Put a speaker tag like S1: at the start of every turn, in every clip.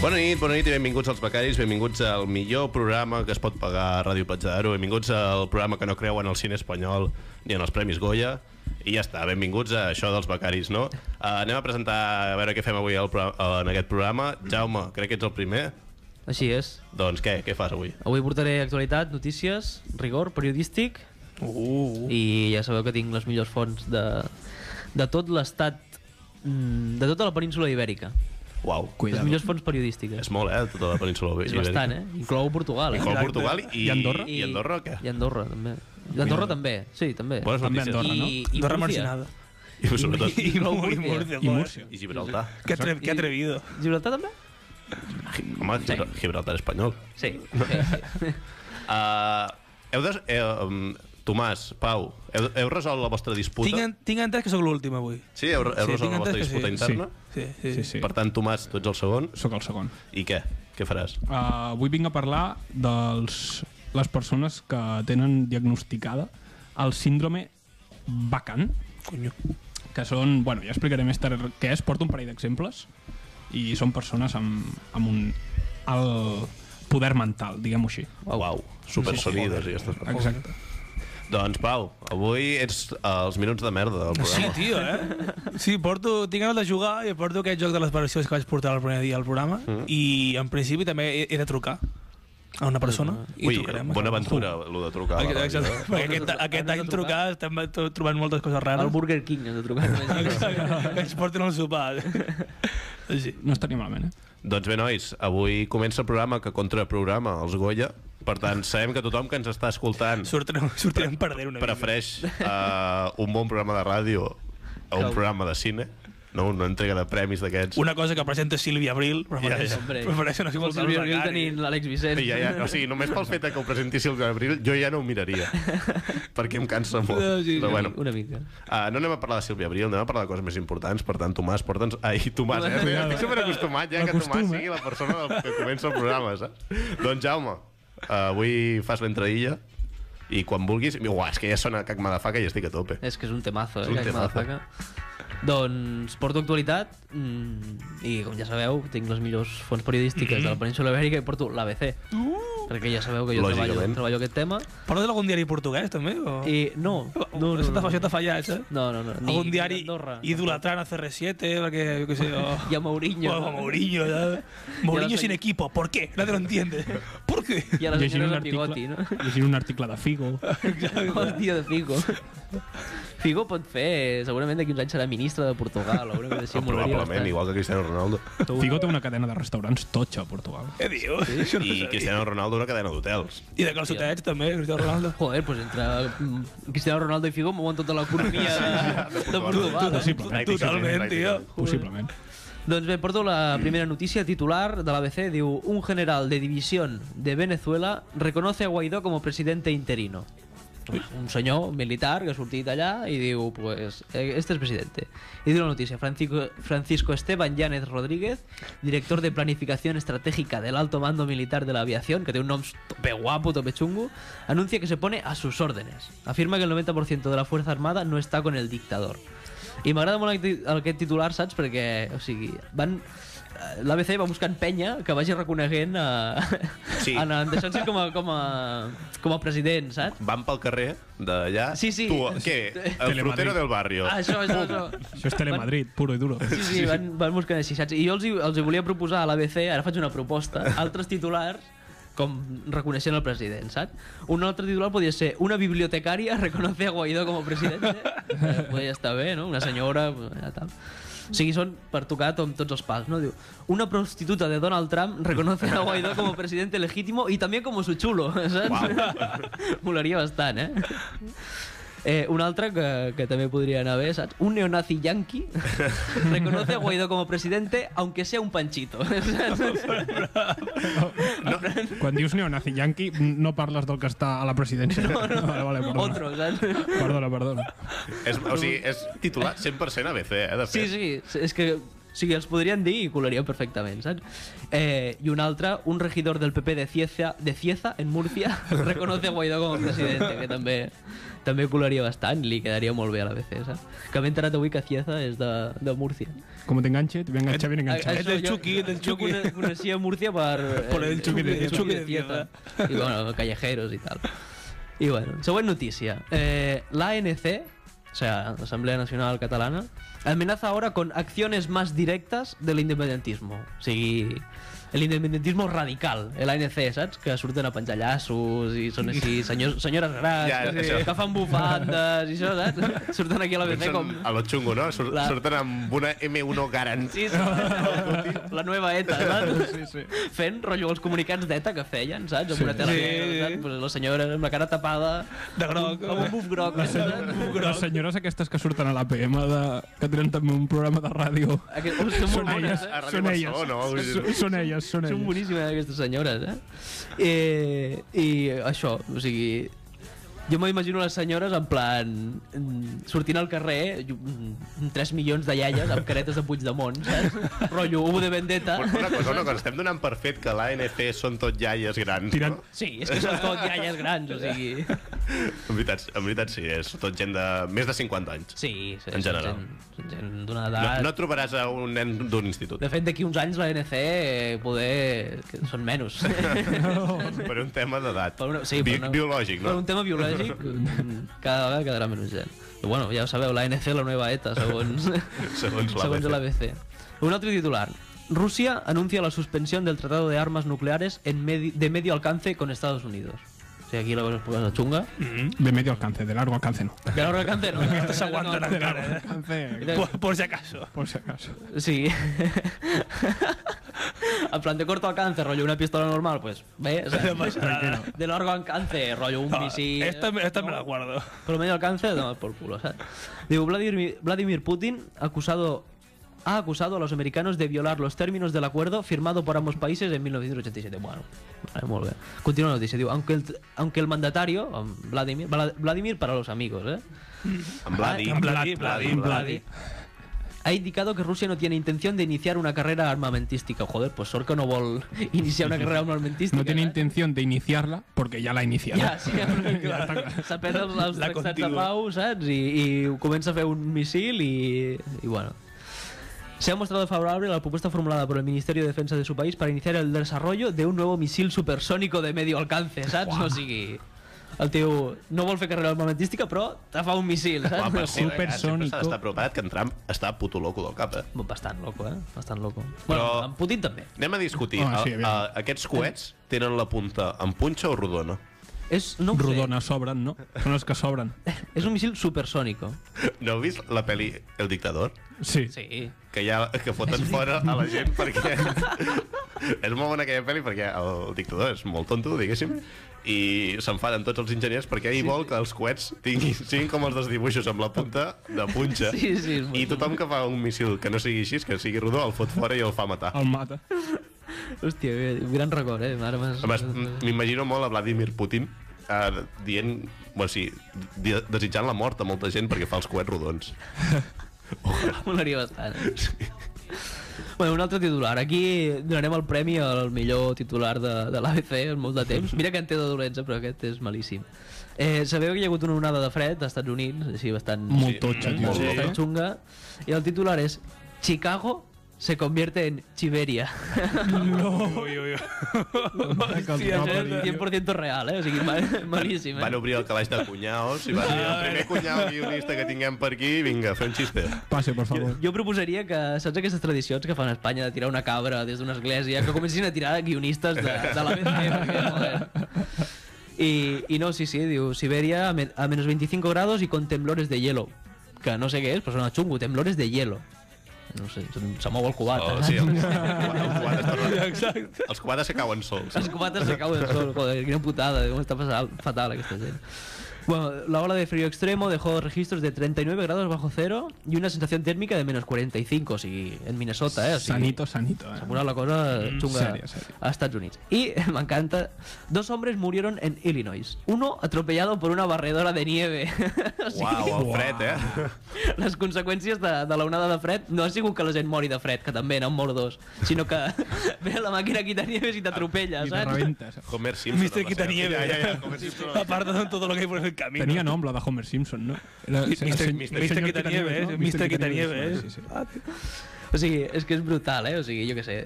S1: Bona nit, bona nit i benvinguts als becaris, benvinguts al millor programa que es pot pagar a Ràdio Patxadaro, benvinguts al programa que no creu en el cine espanyol ni en els Premis Goya, i ja està, benvinguts a això dels becaris, no? Uh, anem a presentar, a veure què fem avui al, pro- eh, en aquest programa. Jaume, crec que ets el primer.
S2: Així és.
S1: Doncs què, què fas avui?
S2: Avui portaré actualitat, notícies, rigor periodístic
S3: Uh,
S2: i ja sabeu que tinc les millors fonts de, de tot l'estat, mm, de tota la península ibèrica.
S1: Uau,
S2: Les
S3: cuidado.
S2: millors fonts periodístiques.
S1: és molt, eh, tota la península
S2: És
S1: ibèrica.
S2: bastant, eh? Inclou Portugal, eh?
S1: Inclou Portugal i,
S3: I Andorra?
S1: I Andorra, què?
S2: I Andorra, també. Andorra també, sí, també.
S1: Bones
S3: També
S1: notícies.
S3: Andorra,
S2: I-
S3: no?
S2: i
S4: Andorra
S2: Murcia.
S4: marginada.
S1: I, sobretot,
S4: Y, Mur- y
S2: Murcia.
S4: Murcia.
S3: Y
S4: joder.
S3: Murcia.
S1: i Gibraltar.
S4: Qué, atre- qué atrevido.
S2: Gibraltar també?
S1: Home, Gibra- Gibraltar espanyol.
S2: Sí. sí, sí.
S1: Uh, heu de... Eh, um, Tomàs, Pau, heu, heu resolt la vostra disputa?
S4: Tinc, en- tinc entès que sóc l'últim avui.
S1: Sí, heu, heu
S4: Sí,
S1: resolt
S4: tinc
S1: la vostra
S4: entès que
S1: disputa
S4: sí.
S1: interna?
S4: Sí, sí.
S3: Sí, sí.
S1: Per tant, Tomàs, tu ets el segon.
S3: Eh, Sóc el segon.
S1: I què? Què faràs?
S3: Uh, avui vinc a parlar dels les persones que tenen diagnosticada el síndrome vacant,
S4: Coño.
S3: que són, bueno, ja explicaré més tard què és, porto un parell d'exemples i són persones amb, amb un alt poder mental, diguem-ho així.
S1: Uau, Uau supersonidos i aquestes coses.
S3: Exacte.
S1: Doncs, Pau, avui ets eh, els minuts de merda del
S4: Sí,
S1: programa.
S4: tio, eh? Sí, porto, tinc ganes de jugar i porto aquest joc de les versions que vaig portar el primer dia al programa mm. i en principi també he, he de trucar a una persona i
S1: Ui,
S4: trucarem.
S1: bona aventura, el de trucar a la
S4: Aquest,
S1: ràdio.
S4: exacte,
S1: eh?
S4: perquè aquest, aquest any trucar estem to- trobant moltes coses
S2: El
S4: rares.
S2: Burger King ens ha trucat.
S4: Exacte, que ens porten un sopar. Sí.
S3: No estaria malament, eh?
S1: Doncs bé, nois, avui comença el programa que contraprograma els Goya. Per tant, sabem que tothom que ens està escoltant
S4: Sortirem, sortirem perdent una mica.
S1: prefereix uh, un bon programa de ràdio a un
S2: Que-
S1: programa de cine, no? una entrega de premis d'aquests.
S4: Una cosa que presenta Sílvia Abril, prefereix,
S1: Ja, ja.
S4: ja, ja. prefereix no
S2: Vols
S4: escoltar
S2: el
S4: el
S2: Burger King
S4: becari.
S2: tenint l'Àlex Vicent.
S1: Ja, ja, o sigui, només pel fet que ho presenti Silvia Abril, jo ja no ho miraria, perquè em cansa molt.
S4: No, sí,
S1: Però bueno,
S2: Una mica.
S1: Uh, no anem a parlar de Sílvia Abril, anem a parlar de coses més importants, per tant, Tomàs, porta'ns... Ai, Tomàs, eh? Estic- Estic superacostumat ja que Tomàs
S3: L'acostuma.
S1: sigui la persona del que comença el programa, saps? Doncs Jaume, uh, avui fas l'entradilla i quan vulguis... Uah, és que ja sona cac madafaca i estic a tope.
S2: És que és un temazo, eh?
S1: És un
S2: Jack
S1: temazo.
S2: Madafaka. Doncs porto actualitat mm, i, com ja sabeu, tinc les millors fonts periodístiques
S1: Mm-hmm.
S2: de la península ibèrica i porto l'ABC. Perquè ja sabeu que jo treballo,
S1: Lògicament.
S2: treballo aquest tema.
S4: Portes algun diari portuguès, també? O...
S2: I no, no, no,
S4: Això t'ha
S2: no,
S4: això t'ha fallat, eh?
S2: no, no, no. ni-
S4: algun diari
S2: ni Andorra.
S4: idolatrant a CR7, perquè, jo què sé, o...
S2: I a Mourinho.
S4: O a Mourinho, ¿sabes?
S2: Y a
S4: Mourinho
S2: la
S4: sin
S2: se-
S4: equipo, ¿por qué? Nadie lo entiende. ¿Por qué?
S2: I a les senyores de Pigoti, no?
S3: llegint un article de Figo.
S2: Hòstia, de Figo. Figo pot fer... Segurament d'aquí uns anys serà ministre de Portugal o una cosa així.
S1: Sí,
S2: molaria
S1: probablement,
S2: bastant.
S1: igual que Cristiano Ronaldo.
S3: Figo té una cadena de restaurants totxa a Portugal.
S4: ¿Qué digo? Eh, Yo no
S1: I
S4: sabía.
S1: Cristiano Ronaldo una cadena d'hotels.
S4: Y de Calzutech también, Cristiano Ronaldo.
S2: Joder, pues entre mm, Cristiano Ronaldo i Figo mouen tota l'economia de, de Portugal. eh?
S3: Possiblement.
S4: Totalment, tio.
S3: Possiblement.
S2: Doncs bé, porto la primera notícia titular de l'ABC. Diu, un general de división de Venezuela reconoce a Guaidó como presidente interino. Pues, Un senyor militar que ha sortit allà i diu, pues, eh, este es presidente. I diu la notícia, Francisco, Francisco Esteban Llanes Rodríguez, director de planificación estratégica del alto mando militar de la aviación, que té un nom tope guapo, tope chungo, anuncia que se pone a sus órdenes. Afirma que el 90% de la Fuerza Armada no está con el dictador. I m'agrada molt acti- aquest titular, saps? Perquè, o sigui, van... eh, L'ABC va buscant penya que vagi reconeguent eh, a,
S1: Sí.
S2: sí. en Anderson com a, com, a, com a president, saps?
S1: Van pel carrer d'allà.
S2: Sí, sí.
S1: Tu, què? El
S3: Telemadrid.
S1: frutero del barrio.
S2: Ah, això, això, això.
S3: Això és Telemadrid, puro i duro.
S2: Sí, sí, van, van buscant així, saps? I jo els, hi- els hi volia proposar a l'ABC, ara faig una proposta, altres titulars com reconeixent el president, saps? Un altre titular podria ser una bibliotecària reconoce a Guaidó com a president. Eh, podria estar bé, no? Una senyora, ja tal. O sigui, són per tocar to- amb tots els pals, no? Diu, una prostituta de Donald Trump reconoce a Guaidó com a presidente legítimo y también como su chulo, saps? Molaria bastant, eh? Eh, un altre que, que també podria anar bé, saps? Un neonazi yanqui reconoce a Guaidó como presidente aunque sea un panchito. saps?
S3: Quan dius neonazi yanqui, no parles del que està a la presidència. No, no. Vale, vale, perdona.
S2: Otro, saps?
S3: Perdona, perdona.
S1: És, o sigui, és titulat 100% ABC, eh, de
S2: Sí,
S1: fet.
S2: sí, és que O sigui, els podrien dir i colaríem perfectament, saps? Eh, I un altre, un regidor del PP de Cieza, de Cieza en Murcia, reconoce a Guaidó com a president, que també també colaria bastant, li quedaria molt bé a la BC, saps? Que m'he enterat avui que Cieza és de, de Múrcia.
S3: Como te enganche, te voy a enganchar bien enganchado.
S4: eh, del
S2: jo-
S4: Chucky, del
S2: jo
S4: Chucky.
S2: cone- coneixia Múrcia per...
S4: Por el Chucky de-
S2: el
S4: Chucky de Cieza.
S2: I bueno, callejeros i tal. I bueno, següent notícia. Eh, L'ANC, o sea, la Asamblea Nacional Catalana, amenaza ahora con acciones más directas del independentismo. O sigui, el independentismo radical, el ANC, saps? Que surten a penjar llaços i són així senyors, senyores grans,
S1: Ja,
S2: que,
S1: això.
S2: que fan bufandes i això, saps? Surten aquí a la BC com...
S1: Pensen a lo xungo, no? Sur
S2: La-
S1: Surten amb una M1 Garant.
S2: Sí, sí, la nueva ETA, saps? Sí, sí. Fent rotllo els comunicants d'ETA que feien, saps? Amb una tela
S4: Sí.
S2: negra, saps? Pues la senyora amb la cara tapada...
S4: De groc.
S2: Amb un buf groc, saps?
S3: Les senyores aquestes que surten a l'APM, de... que tenen també un programa de ràdio,
S2: Aquest, oh, són molt bones, eh?
S1: A Ràdio
S3: són elles.
S1: Barcelona, vull dir-
S3: Són- Són elles, són
S2: Són
S3: elles.
S2: boníssimes aquestes senyores, eh? eh I això, o sigui... Jo m'imagino les senyores en plan... mm, Sortint al carrer, 3 milions de iaies amb caretes de Puigdemont, saps? Rotllo, U de Vendetta.
S1: Una cosa, una cosa, estem donant per fet que l'ANC són tot iaies grans,
S3: Tirant-
S1: no?
S2: Sí, és que són tot iaies grans, o sigui...
S1: En veritat, en veritat sí, és tot gent de més de 50 anys.
S2: Sí, sí
S1: En
S2: són
S1: general.
S2: Gent, són gent d'una
S1: No,
S2: edat...
S1: no trobaràs a un nen d'un institut.
S2: De fet, d'aquí uns anys l'ANC eh, poder... que són menys.
S3: Mm-hmm.
S1: Per un tema d'edat.
S2: Per una- sí, per
S1: Bi
S2: una-
S1: Biològic,
S2: Per
S1: no?
S2: un tema biològic, mm, cada vegada quedarà menys gent. Però bueno, ja ho sabeu, l'ANC la nueva ETA, segons,
S1: Segons l'ABC.
S2: segons l'ABC. Un altre titular. Rusia anuncia la suspensión del Tratado de Armas Nucleares en medi- de medio alcance con Estados Unidos. O sigui, aquí la cosa es posa xunga.
S3: De medio alcance, de largo alcance no.
S2: De largo alcance, no.
S4: Estos aguantan
S2: No, no, no.
S4: encara, eh?
S3: Alcance,
S4: Por, por si acaso.
S3: por si acaso.
S2: Sí. en plan de corto alcance, rollo una pistola normal, pues, ¿ves? O sea,
S4: No pasa nada.
S2: de largo alcance, rollo un
S4: No,
S2: misil.
S4: Ah, esta, me- esta me
S2: No.
S4: la guardo.
S2: Pero medio alcance, no, por culo, ¿sabes? Digo, Vladimir, Vladimir Putin acusado, ha acusado a los americanos de violar los términos del acuerdo firmado por ambos países en 1987. Bueno, vale, muy bien. Continúa la noticia. Digo, aunque el, aunque el mandatario, um, Vladimir, Vla- Vladimir para los amigos, ¿eh?
S1: Amb Vladi.
S4: En Vladi, Vladi, Vladi.
S2: Ha indicado que Rusia no tiene intención de iniciar una carrera armamentística. Joder, pues Sorka no vol iniciar una carrera armamentística.
S3: No tiene
S2: eh?
S3: intención de iniciarla porque ya la ha iniciado.
S2: Ja, sí, s'aprèn els, els
S4: La
S2: tractats de
S4: continua.
S2: pau, saps? I, I ho comença a fer un missil i, i bueno. Se ha mostrado favorable a la propuesta formulada por el Ministerio de Defensa de su país para iniciar el desarrollo de un nuevo misil supersónico de medio alcance, saps? O sigui, el teu no vol fer carrera armamentística, però te fa un missil, saps?
S1: Guapa, sí,
S3: Supersónico.
S1: Sempre s'ha d'estar preocupat que en Trump està puto loco del cap, eh?
S2: Bastant loco, eh? Bastant loco. Però...
S1: Però-
S2: Bueno, en Putin també.
S1: Anem a discutir.
S3: Ah, sí,
S1: A-
S3: aviam.
S1: a- aquests coets tenen la punta en punxa o rodona?
S2: És, no ho sé.
S3: Rodones sobren, no? Són els que sobren.
S2: És un missil supersònico.
S1: No heu vist la pel·li El dictador?
S3: Sí.
S2: Sí.
S1: Que, ja, que foten fora a la gent perquè... és molt bona aquella pel·li perquè el dictador és molt tonto, diguéssim, i s'enfaden tots els enginyers perquè ell vol que els coets tinguin, siguin com els dels dibuixos, amb la punta de punxa.
S2: Sí, sí, és molt
S1: I tothom que fa un missil que no sigui així, que sigui rodó, el fot fora i el fa matar.
S3: El mata.
S2: Hòstia, bé, gran record, eh? Ara m'has-
S1: A més, m- m'imagino molt a Vladimir Putin eh, dient, bueno, sí, di- desitjant la mort a molta gent perquè fa els coets rodons.
S2: Molaria bastant. eh? Bueno, un altre titular. Aquí donarem el premi al millor titular de, de l'ABC en molt de temps. Mira que en té de dolents, eh, però aquest és malíssim. Eh, sabeu que hi ha hagut una onada de fred als Estats Units, així bastant,
S3: Molt totxa, tio.
S1: molt
S2: bastant
S1: sí.
S2: xunga, i el titular és Chicago se convierte en Chiveria.
S4: Uy, uy, uy.
S2: Això
S4: Hòstia,
S3: no,
S2: és
S4: nena.
S3: però-
S2: 100% real, eh? O sigui, mal, malíssim, eh?
S1: Van obrir el calaix de cunyaos i van dir el primer cunyau guionista que tinguem per aquí, vinga, fer un xiste.
S3: Passe, por favor.
S2: Jo proposaria que, saps aquestes tradicions que fan a Espanya de tirar una cabra des d'una església, que comencin a tirar guionistes de, de la BC, I, I no, sí, sí, diu Sibèria a, men a menos 25 grados i con temblores de hielo. Que no sé què és, però sona xungo, temblores de hielo. No sé, se mou el cubat.
S1: Oh,
S2: eh?
S1: sí, els, els, quadres, perdó,
S4: Exacte.
S1: els quadres que cauen sols.
S2: Els cubates se cauen sol, joder, quina putada, com està passant fatal aquesta gent. Bueno, la ola de frío extremo dejó registros de 39 grados bajo cero y una sensación térmica de menos 45, o sigui, en Minnesota, eh? O sigui,
S3: Sanito, sanito.
S2: s'ha
S3: Eh?
S2: posat la cosa chunga
S3: serio, serio.
S2: a Estados Unidos. Y me encanta, dos hombres murieron en Illinois. Uno atropellado por una barredora de nieve. O sigui,
S1: Uau, el fred, eh?
S2: les conseqüències de, de l'onada de fred no ha sigut que la gent mori de fred, que també n'han mort dos, sinó que ve la màquina quitanieves i t'atropella,
S3: I te
S2: saps?
S3: reventas.
S1: Homer Simpson.
S4: Mr.
S1: amb la seva-
S4: Quitanieve.
S1: Ja, ja, ja, Homer Simpson. amb la
S4: Aparte de todo lo que hay por el camino.
S3: Tenía nombre de Homer Simpson, ¿no? Era el
S4: Mr.
S3: señor-
S4: Mr.
S3: el señor
S4: Quitanieve,
S3: ¿no?
S4: eh? Mr. Quitanieve, eh?
S3: Sí, sí.
S2: O sigui, és que és brutal, eh? O sigui, jo què sé,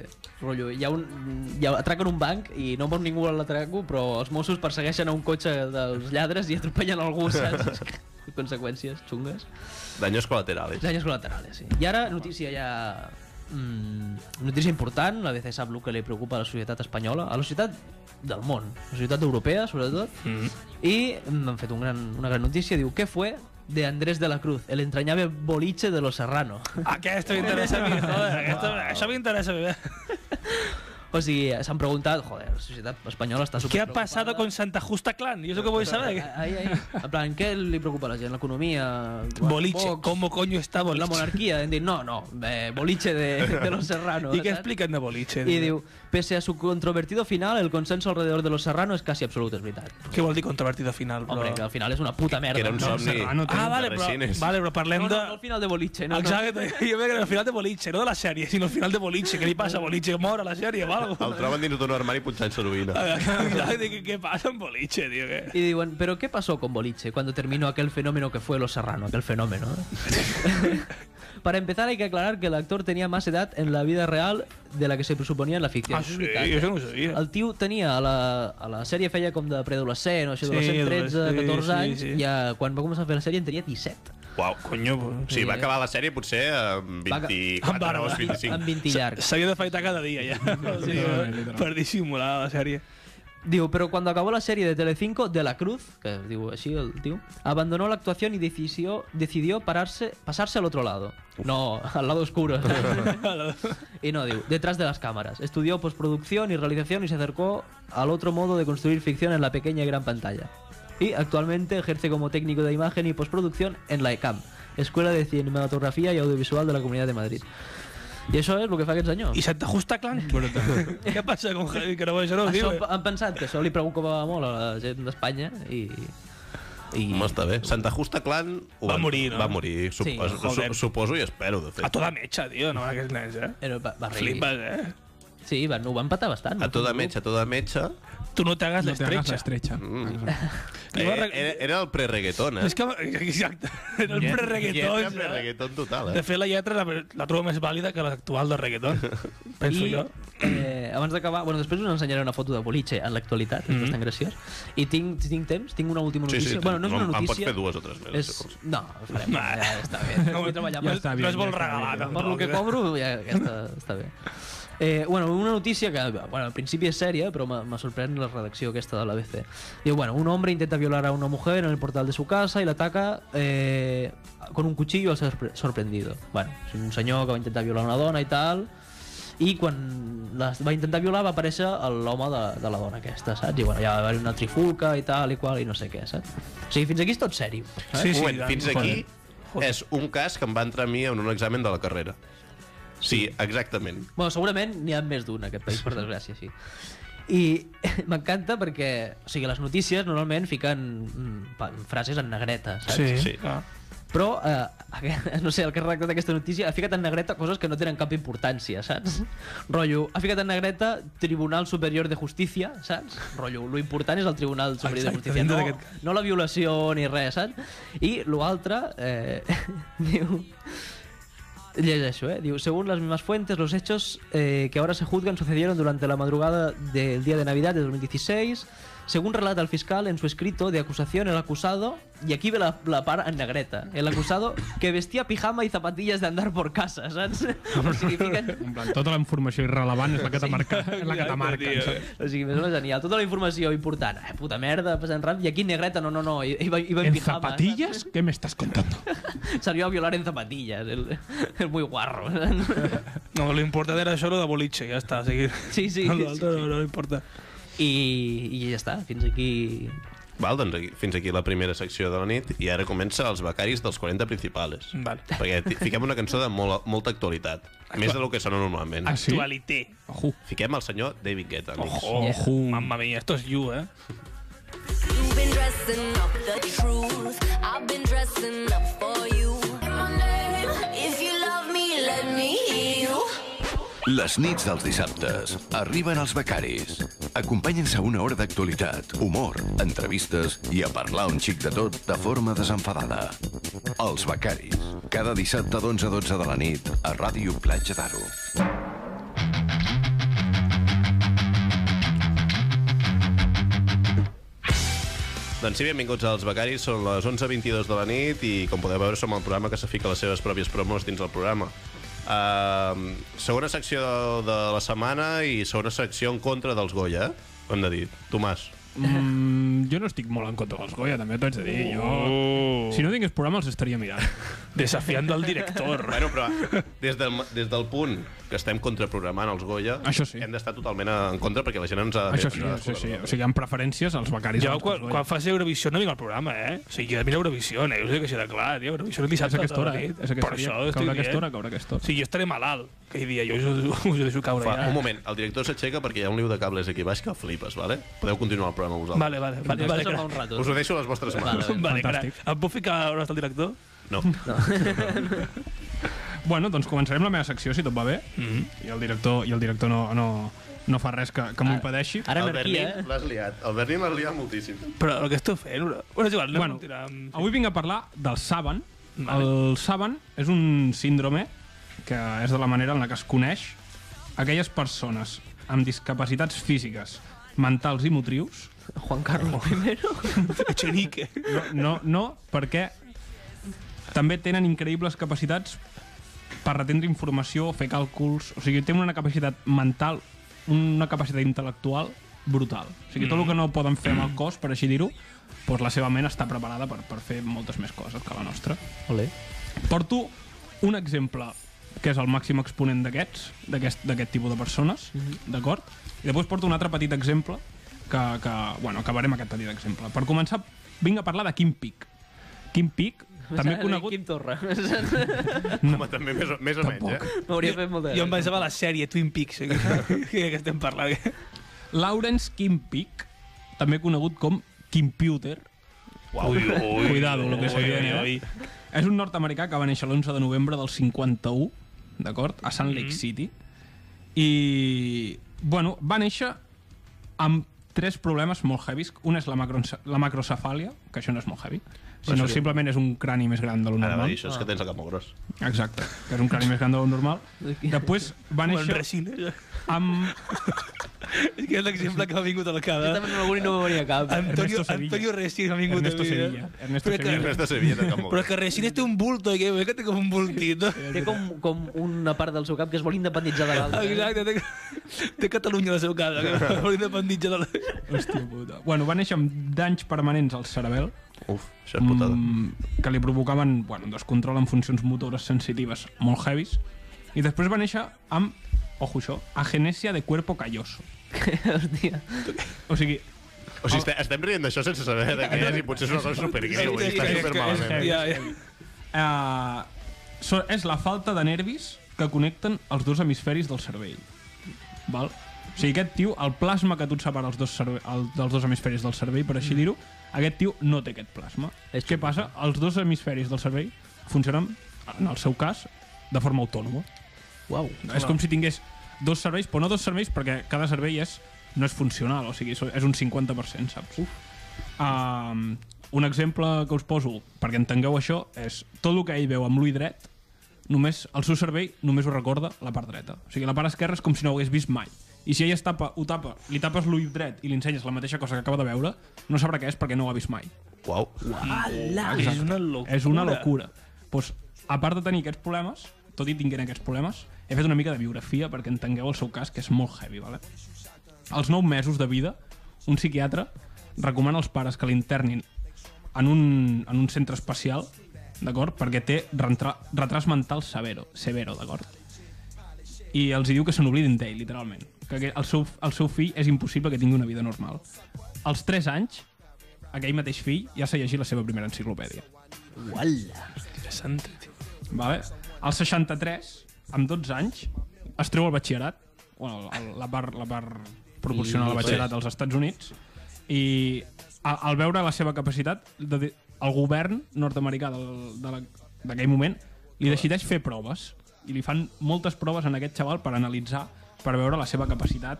S2: rotllo, hi ha un... Hi ha, atraquen un banc i no mor ningú a l'atraco, però els Mossos persegueixen a un cotxe dels lladres i atropellen algú, saps? És que- conseqüències xungues.
S1: Daños colaterales.
S2: Daños colaterales, sí. I ara, notícia ja... Mm, notícia important, la BC sap el que li preocupa a la societat espanyola, a la societat del món, a la societat europea, sobretot, mm. i m'han fet un gran, una gran notícia, diu, què fue de Andrés de la Cruz, el entrañable boliche de los Serrano.
S4: Aquesta m'interessa a mi, joder. Aquesta, això m'interessa a mi.
S2: O sigui, s'han preguntat, joder, la societat espanyola està
S4: Què ha
S2: superpreocupada.
S4: passat con Santa Justa Clan? Jo és el que vull saber.
S2: Ahí, ahí. En plan, què li preocupa a la gent? L'economia?
S4: Boliche,
S2: Vox,
S4: com coño està
S2: La
S4: boliche?
S2: monarquia? Hem dit, no, no, eh, boliche de, de los Serrano.
S4: I què
S2: saps?
S4: expliquen de boliche?
S2: Y digo, pese a su controvertido final, el consenso alrededor de los Serrano es casi absoluto, es verdad.
S4: Què vol dir controvertido final? Però...
S2: Hombre, que al final es una puta merda.
S1: Que era un
S2: no,
S3: No,
S1: somni.
S3: Serrano
S4: Ah,
S3: té-
S4: vale,
S1: de
S4: però,
S1: resines.
S4: vale, però parlem
S2: no,
S4: de...
S2: no, no, al final de boliche, no, no.
S4: Exacte, jo veig que al final de boliche, no de la sèrie, sinó al final de boliche. Què li passa a boliche? Mor a la sèrie o alguna
S1: El troben dins d'un armari punxant heroïna.
S4: Exacte, què- què passa amb boliche, tio? Què?
S2: Y digo, pero ¿qué pasó con Boliche cuando terminó aquel fenómeno que fue Los Serrano? Aquel fenómeno. eh? Para empezar, hay que aclarar que el actor tenía más edad en la vida real de la que se suponía en la ficción.
S4: Ah, sí, això no ho sabia.
S2: El tio tenia a la, a la sèrie feia com de preadolescent o això,
S4: Sí,
S2: adolescent, 13,
S4: adolescent,
S2: 14
S4: sí,
S2: anys,
S4: sí.
S2: i a, quan va començar a fer la sèrie en tenia 17.
S1: Uau.
S4: Coño, pues.
S1: Sí, va acabar la sèrie potser amb
S2: Va ca-
S4: Ah,
S1: 24 o
S2: Amb
S1: 25.
S2: 20 llargs.
S4: S'havia de fightar cada dia, ja. O sigui,
S3: Literalment, literalment.
S4: per dissimular la sèrie.
S2: Digo, pero cuando acabó la serie de Telecinco, De la Cruz, que digo así el tío, abandonó la actuación y decidió, decidió pararse, pasarse al otro lado. No, al lado oscuro. y no, digo, detrás de las cámaras. Estudió postproducción y realización y se acercó al otro modo de construir ficción en la pequeña y gran pantalla. Y actualmente ejerce como técnico de imagen y postproducción en la E ECAM, Escuela de Cinematografía y Audiovisual de la Comunidad de Madrid. Y eso es lo que fa aquest senyor.
S4: I Santa Justa Clan? Què passa con Javi? Que no, això no ho diu.
S2: Això han pensat que això li preocupava molt a la gent d'Espanya i... i...
S1: Mm, està bé. Santa Justa Clan ho
S4: Va
S1: van-
S4: morir, no?
S1: Va morir, suposo,
S2: Sí,
S4: joder.
S1: su- suposo i espero, de
S4: A
S1: fet.
S4: toda mecha, tio, no, aquests nens, eh?
S2: Era, va, va reir.
S4: Flipes, eh?
S2: Sí, va, no, ho va empatar bastant.
S1: A toda metge, a toda metge.
S4: Tu no t'hagas
S3: No te hagas
S4: l'estretxa.
S3: la estrecha.
S4: Mm. I
S1: Eh,
S4: va reg-
S1: era, era el pre-reggaeton, eh?
S4: És que... Exacte. Era el
S1: Lletra
S4: pre-reggaeton. eh?
S1: pre-reggaeton total,
S4: De
S1: eh?
S4: fet, la lletra la, la trobo més vàlida que l'actual de reggaeton. Penso
S2: I,
S4: jo.
S2: eh, abans d'acabar, bueno, després us ensenyaré una foto de boliche en l'actualitat,
S4: Mm-hmm.
S2: mm -hmm. és bastant graciós. I tinc, tinc temps, tinc una última
S1: Sí,
S2: notícia.
S1: sí,
S2: bueno, no és una
S1: en- En
S2: notícia.
S1: pots fer dues eh, o tres més.
S2: és... No, farem,
S4: Va.
S2: ja està bé. No, treballar
S3: ja
S2: molt.
S3: està
S4: no
S3: bien,
S4: es vol
S3: ja està
S4: regalar,
S3: bien.
S2: Per lo que cobro, ja, ja està, està bé. Eh, bueno, una notícia que, bueno, al principi és sèria, però m'ha m'ha sorprès la redacció aquesta de l'ABC. Diu, bueno, un hombre intenta violar a una mujer en el portal de su casa y la ataca eh, con un cuchillo al ser sorpre- sorprendido. Bueno, és un senyor que va intentar violar una dona i tal, i quan la va intentar violar va aparèixer el- l'home de, de la dona aquesta, saps? I bueno, ja va haver una trifulca i tal i qual i no sé què, saps? O sigui, fins aquí és tot sèrio. saps?
S1: Sí, sí,
S4: Sí, sí,
S1: moment,
S4: tant.
S1: fins aquí
S4: Joder. Joder.
S1: és un cas que em va entrar a mi en un examen de la carrera. Sí, exactament.
S2: Bueno, segurament n'hi ha més d'un en aquest país, per desgràcia, sí. I m'encanta perquè, o sigui, les notícies normalment fiquen mm, pa- frases en negreta, saps?
S4: Sí.
S1: Sí.
S4: sí. Ah.
S2: Però, eh, aqu- no sé, el que ha redactat aquesta notícia ha ficat en negreta coses que no tenen cap importància, saps? Rollo, ha ficat en negreta Tribunal Superior de Justícia, saps? Rollo, lo important és el Tribunal Superior de
S4: Exacte,
S2: Justícia,
S4: dintre
S2: no,
S4: d'aquest cas.
S2: no la violació ni res, saps? I l'altre, eh, diu... Llegeixo, eh? Diu, según las mismas fuentes, los hechos eh, que ahora se juzgan sucedieron durante la madrugada del día de Navidad de 2016. Según relata el fiscal en su escrito de acusación, el acusado, y aquí ve la, la par en negreta, el acusado que vestía pijama y zapatillas de andar por casa, ¿sabes? O sigui, fiquen...
S3: En plan, tota la informació irrelevant és la que t'ha marcat. És la que t'ha marcat. saps?
S2: O sigui, més o menys genial. Tota la informació important. Eh, puta merda, passant rap. I aquí negreta, no, no, no. Iba, iba en,
S3: ¿En
S2: pijama.
S3: zapatillas? ¿Qué me estás contando?
S2: ¿sabes? Salió a violar en zapatillas. El, el muy guarro.
S4: No, lo important era això, lo de boliche, ja està. O sigui,
S2: Sí, sí,
S4: No,
S2: sí,
S4: l'altre no, no, no importa.
S2: I, I ja està, fins aquí
S1: Val, doncs aquí, fins aquí la primera secció de la nit i ara comença els becaris dels 40 principales.
S4: Vale.
S1: Perquè ti- fiquem una cançó de molt, molta actualitat, més del que sona normalment.
S3: Ah, sí?
S4: Actualité.
S3: Ojo.
S1: Fiquem el senyor David Guetta, amics.
S4: Ojo,
S3: Yeah.
S4: ojo. Mamma mia, esto es you, eh?
S5: You've been dressing up the truth. I've been dressing up for you. My name. If you love me, let me hear you.
S6: Les nits dels dissabtes arriben els becaris. Acompanyen-se a una hora d'actualitat, humor, entrevistes i a parlar un xic de tot de forma desenfadada. Els becaris. Cada dissabte d'11 a 12 de la nit a Ràdio Platja d'Aro.
S1: Doncs sí, benvinguts als Becaris, són les 11.22 de la nit i com podeu veure som el programa que se fica les seves pròpies promos dins del programa. Uh, segona secció de la setmana i segona secció en contra dels Goya, eh? ho hem de dir. Tomàs,
S3: Mm, jo no estic molt en contra dels Goya, també t'ho haig de dir. Jo,
S4: Oh.
S3: si no tingués programa, els estaria mirant.
S4: Desafiando al director.
S1: bueno, però des del, des del punt que estem contraprogramant els Goya,
S3: Això sí.
S1: hem d'estar totalment en contra perquè la gent ens ha de...
S3: Això sí, això sí. O sigui, hi ha preferències als becaris.
S4: Jo,
S3: abans que als
S4: quan,
S3: Goya.
S4: quan faci Eurovisió no vinc al programa, eh? O sigui, jo miro Eurovisió, eh? Us ho dic així de clar, tio. Eurovisió el
S3: És
S4: dissabte
S3: aquesta hora,
S4: de la
S3: eh?
S4: nit.
S3: És
S4: Per
S3: aquesta
S4: això
S3: hora.
S4: estic
S3: Caurà
S4: dient.
S3: aquesta hora, caurà aquesta
S4: O
S3: hora.
S4: sigui, jo estaré malalt aquell dia, jo us, us, us ho deixo caure
S1: Fa, un
S4: ja.
S1: moment, el director s'aixeca perquè hi ha un liu de cables aquí baix que flipes, vale? Podeu continuar el programa vosaltres.
S4: Vale, vale, vale. vale,
S2: Això fa un
S4: vale,
S2: rato.
S1: Us ho deixo a les vostres mans.
S2: Vale.
S4: vale cara.
S3: Fantàstic.
S4: Em puc ficar on està el director?
S1: No.
S3: Bueno, doncs començarem la meva secció, si tot va bé. Mm -hmm. I el director, i el director no, no, no fa res que, que m'ho impedeixi.
S2: Ara
S1: El
S2: anarquia,
S1: Bernin
S2: eh?
S1: l'has liat. El Bernin l'has liat moltíssim.
S4: Però el que estic fent... Ura... Bueno, és igual, anem
S3: Bueno,
S4: bueno, a tirar amb...
S3: Avui vinc a parlar del Saban.
S4: Vale.
S3: El Saban és un síndrome que és de la manera en la que es coneix aquelles persones amb discapacitats físiques, mentals i motrius.
S2: eh? Juan Carlos I.
S4: Echenique.
S3: No, no, no perquè també tenen increïbles capacitats per retendre informació, fer càlculs... O sigui, tenen una capacitat mental, una capacitat intel·lectual brutal. O sigui, tot el que no poden fer amb el cos, per així dir-ho, doncs la seva ment està preparada per, per fer moltes més coses que la nostra.
S2: Olé.
S3: Porto un exemple que és el màxim exponent d'aquests, d'aquest d'aquest tipus de persones,
S4: Mhm.
S3: d'acord? I després porto un altre petit exemple que, que bueno, acabarem aquest petit exemple. Per començar, vinc a parlar de Quim Pic. Quim Pic, també conegut...
S2: Quim Torra.
S1: Home, també més, o- més o menys, eh?
S2: M'hauria fet molt de...
S4: Jo em pensava la sèrie Twin Peaks, eh? que que estem parlant.
S3: Lawrence Quim Pic, també conegut com Computer.
S1: Uau, ui, ui,
S3: Cuidado, lo que se
S4: ui,
S3: viene,
S4: ui.
S3: eh? És un nord-americà que va néixer l'11 de novembre del 51, d'acord? A Salt Lake City. I, bueno, va néixer amb tres problemes molt heavies. Un és la, macronce- la macrocefàlia, que això no és molt heavy, sinó simplement és un crani més gran de lo
S1: Ara va dir
S3: normal.
S1: això, és que tens el cap molt gros.
S3: Exacte, que és un crani més gran de lo normal. Després va
S4: Com en
S3: néixer
S4: Resines.
S3: amb...
S4: És que és l'exemple que m'ha vingut a la
S2: Jo
S4: cara.
S2: també no m'algú i no me venia a cap.
S4: Antonio,
S3: Ernesto Sevilla.
S4: Antonio Resines m'ha vingut
S3: Ernesto
S4: a mi. eh?
S3: Sevilla. Ernesto
S4: Però que-
S3: Sevilla.
S1: Res de Sevilla té el cap molt
S4: Però
S1: gros.
S4: que Resines té un bulto, eh, que ve que té com un bultito.
S2: Té com, com una part del seu cap que es vol independitzar de l'altre.
S4: Exacte, té, té Catalunya a la seva casa, que per independitza de la...
S3: Hòstia puta. Bueno, va néixer amb danys permanents al cerebel,
S1: Uf, això és putada.
S3: mm, que li provocaven bueno, un descontrol en funcions motores sensitives molt heavies i després va néixer amb, ojo això, agenèsia de cuerpo calloso.
S2: Hòstia.
S3: O sigui,
S1: O sigui, estem, estem rient d'això sense saber de què és i potser és una cosa supergreu i està supermalament.
S4: Ja, ja.
S3: eh, so, és la falta de nervis que connecten els dos hemisferis del cervell. Val? O sigui, aquest tio, el plasma que tu et separa els dos cerve el, dels dos hemisferis del cervell, per així dir-ho, aquest tio no té aquest plasma.
S2: Mm. És
S3: Què passa? Els dos hemisferis del cervell funcionen, en el seu cas, de forma autònoma.
S2: Uau.
S3: És com si tingués dos serveis, però no dos serveis perquè cada servei és, no és funcional, o sigui, és un 50%, saps? Um, un exemple que us poso perquè entengueu això és tot el que ell veu amb l'ull dret només el seu cervell només ho recorda la part dreta. O sigui, la part esquerra és com si no ho hagués vist mai. I si ell es tapa, ho tapa, li tapes l'ull dret i li ensenyes la mateixa cosa que acaba de veure, no sabrà què és perquè no ho ha vist mai.
S1: Uau.
S4: Ala, és una locura.
S3: És una locura. Pues, a part de tenir aquests problemes, tot i tinguent aquests problemes, he fet una mica de biografia perquè entengueu el seu cas, que és molt heavy, vale? Als 9 mesos de vida, un psiquiatre recomana als pares que l'internin en, un, en un centre especial, d'acord? Perquè té rentra, retras mental severo, severo d'acord? I els hi diu que se n'oblidin d'ell, literalment. Que aquell- el seu, el seu fill és impossible que tingui una vida normal. Als 3 anys, aquell mateix fill ja s'ha llegit la seva primera enciclopèdia.
S2: Uala.
S4: Interessant, tio.
S3: Vale? Al 63, amb 12 anys, es treu el batxillerat, bueno, el- la part, la part proporcional al batxillerat dels Estats Units, i a- al veure la seva capacitat, de, dir- el govern nord-americà del- de la- d'aquell moment li decideix fer proves, i li fan moltes proves en aquest xaval per analitzar, per veure la seva capacitat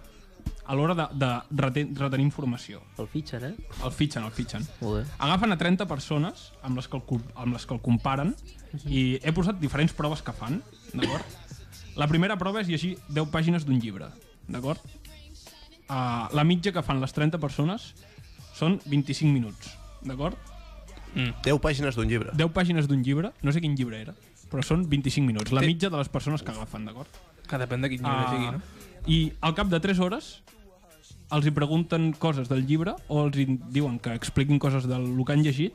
S3: a l'hora de, de reten, retenir informació.
S2: El fitxen, eh?
S3: El fitxen, el fitxen.
S2: Molt bé.
S3: Agafen a 30 persones amb les que el, com- amb les que el comparen i he posat diferents proves que fan, d'acord? La primera prova és llegir 10 pàgines d'un llibre, d'acord? Uh, la mitja que fan les 30 persones són 25 minuts, d'acord?
S1: 10 pàgines d'un llibre.
S3: 10 pàgines d'un llibre, no sé quin llibre era, però són 25 minuts, la mitja de les persones que agafen, d'acord?
S4: Que depèn de quin llibre
S3: Ah,
S4: sigui, no?
S3: I al cap de 3 hores els hi pregunten coses del llibre o els hi diuen que expliquin coses del lo que han llegit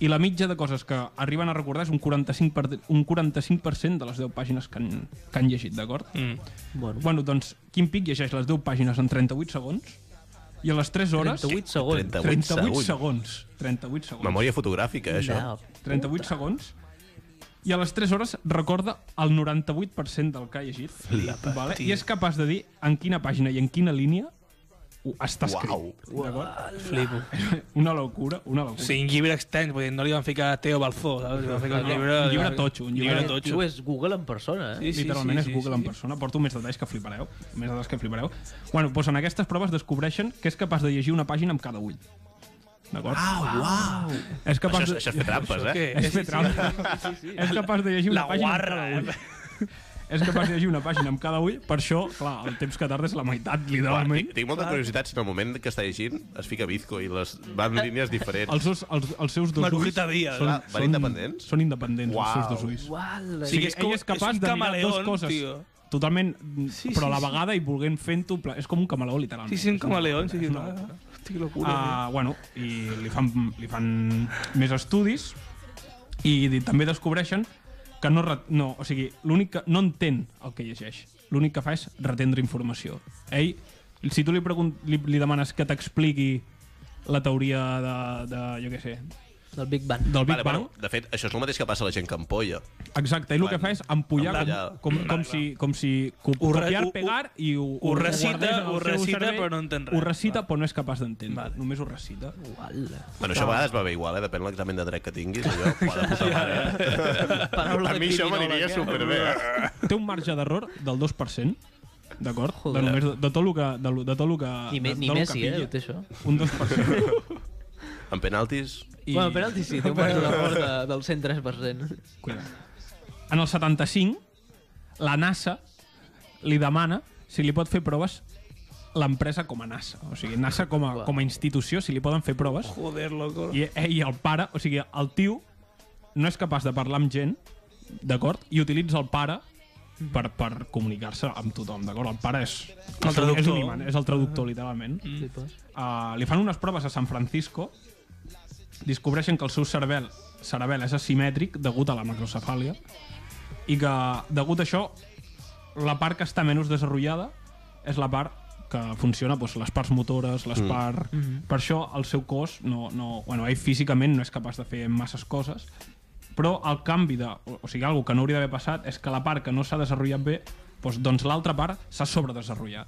S3: i la mitja de coses que arriben a recordar és un 45%, per, un 45 de les 10 pàgines que han, que han llegit, d'acord? Mm.
S2: Bueno,
S3: Bueno, doncs Quim Pic llegeix les 10 pàgines en 38 segons i a les 3 hores...
S2: 38 segons.
S1: 38
S3: 38
S1: segons.
S3: segons. 38 segons.
S1: Memòria fotogràfica, eh, això.
S2: No.
S3: 38 segons i a les 3 hores recorda el 98% del que ha llegit vale? i és capaç de dir en quina pàgina i en quina línia ho està escrit d'acord?
S4: Flipo.
S3: una locura, una
S4: O
S3: locura
S4: sigui, un llibre extens, vull dir, no li van ficar Teo Balzó, saps? Li van ficar
S3: No,
S4: un
S3: no,
S4: llibre...
S3: un llibre totxo, un llibre
S2: El tio és Google en persona, eh?
S4: Sí, sí,
S3: literalment
S4: sí,
S3: és Google
S4: sí,
S3: en persona porto més detalls que flipareu més detalls que flipareu bueno, doncs en aquestes proves descobreixen que és capaç de llegir una pàgina amb cada ull d'acord? Ah, uau! És
S1: Això,
S3: capaç
S1: és- això és fer trampes, eh?
S4: Què?
S3: És fer trampa. És capaç de llegir una
S4: La
S3: pàgina
S4: guarra,
S3: amb cada ull. És capaç de llegir una pàgina amb cada ull, per això, clar, el temps que tarda és la meitat,
S1: Uah,
S3: literalment.
S1: Ah, tinc, tinc molta curiositat si en el moment que està llegint es fica bizco i les van línies diferents.
S3: Els, seus, els, els seus dos ulls
S4: Marujita Díaz,
S3: són,
S1: clar, van independents?
S3: són independents, els seus
S1: Uau.
S3: dos ulls.
S2: Uala.
S3: O sigui,
S4: és
S3: és,
S4: com-
S3: ell és capaç
S4: és un
S3: de mirar
S4: camaleón,
S3: dues coses
S4: tio.
S3: totalment, sí, però a
S4: sí,
S3: la
S4: sí.
S3: vegada i volent fent-ho, pla- és com un camaleó, literalment.
S4: Sí, sí, un camaleón, sí, sí.
S3: És una
S4: clar.
S3: locura.
S4: Hosti, que locura.
S3: Uh, bueno, i li fan, li fan més estudis i di- també descobreixen que no, re- no o sigui, l'únic que no entén el que llegeix. L'únic que fa és retendre informació. Ell, si tu li, pregun- li, li demanes que t'expliqui la teoria de, de jo què sé,
S2: Del Big Bang.
S3: del Big
S1: Vale,
S3: Bang,
S1: bueno, de fet, això és el mateix que passa a la gent que empolla.
S3: exacte, ell el que fa és empollar com,
S1: Empollar.
S3: com, com, si, com si co-
S4: Ho re-
S3: copiar,
S4: ho- ho-
S3: pegar i ho,
S4: ho recita,
S3: guardés en el
S4: ho
S3: seu
S4: recita, però no entén res.
S3: Ho recita, però no és capaç d'entendre.
S4: Vale.
S3: Només ho recita.
S2: Uala.
S1: Bueno, això a vegades va bé igual, eh? Depèn de l'examen de dret que tinguis. Allò, ho ha de posar mare, eh?
S2: Paraula
S1: A mi això
S2: criminòleg,
S1: m'aniria
S2: eh?
S1: superbé.
S3: té un marge d'error del 2%, d'acord? De,
S2: Joder.
S3: només, de, de tot el que... De, lo- de tot lo que
S2: Ni, me,
S3: de,
S2: ni
S3: de lo que
S2: Messi, eh?
S3: pilla.
S2: Ho té això.
S3: Un 2%.
S1: En penaltis,
S2: I... Bueno, penalti sí, té un marge d'error de, del 103%.
S3: Cuida. En el 75, la NASA li demana si li pot fer proves l'empresa com a NASA. O sigui, NASA com a, com a institució, si li poden fer proves.
S4: Joder, loco.
S3: I, eh, I el pare, o sigui, el tio no és capaç de parlar amb gent, d'acord? I utilitza el pare per, per comunicar-se amb tothom, d'acord? El pare és...
S4: El traductor.
S3: És un imant, és el traductor, literalment.
S2: Flipes.
S3: Uh, li fan unes proves a San Francisco, descobreixen que el seu cervell, cerebel és asimètric degut a la macrocefàlia i que, degut a això, la part que està menys desenvolupada és la part que funciona doncs, les parts motores, les mm. parts... Mm -hmm. Per això el seu cos, no, no, bueno, ell físicament no és capaç de fer masses coses, però el canvi de... O, o sigui, algo que no hauria d'haver passat és que la part que no s'ha desenvolupat bé, doncs, doncs l'altra part s'ha sobredesenvolupat.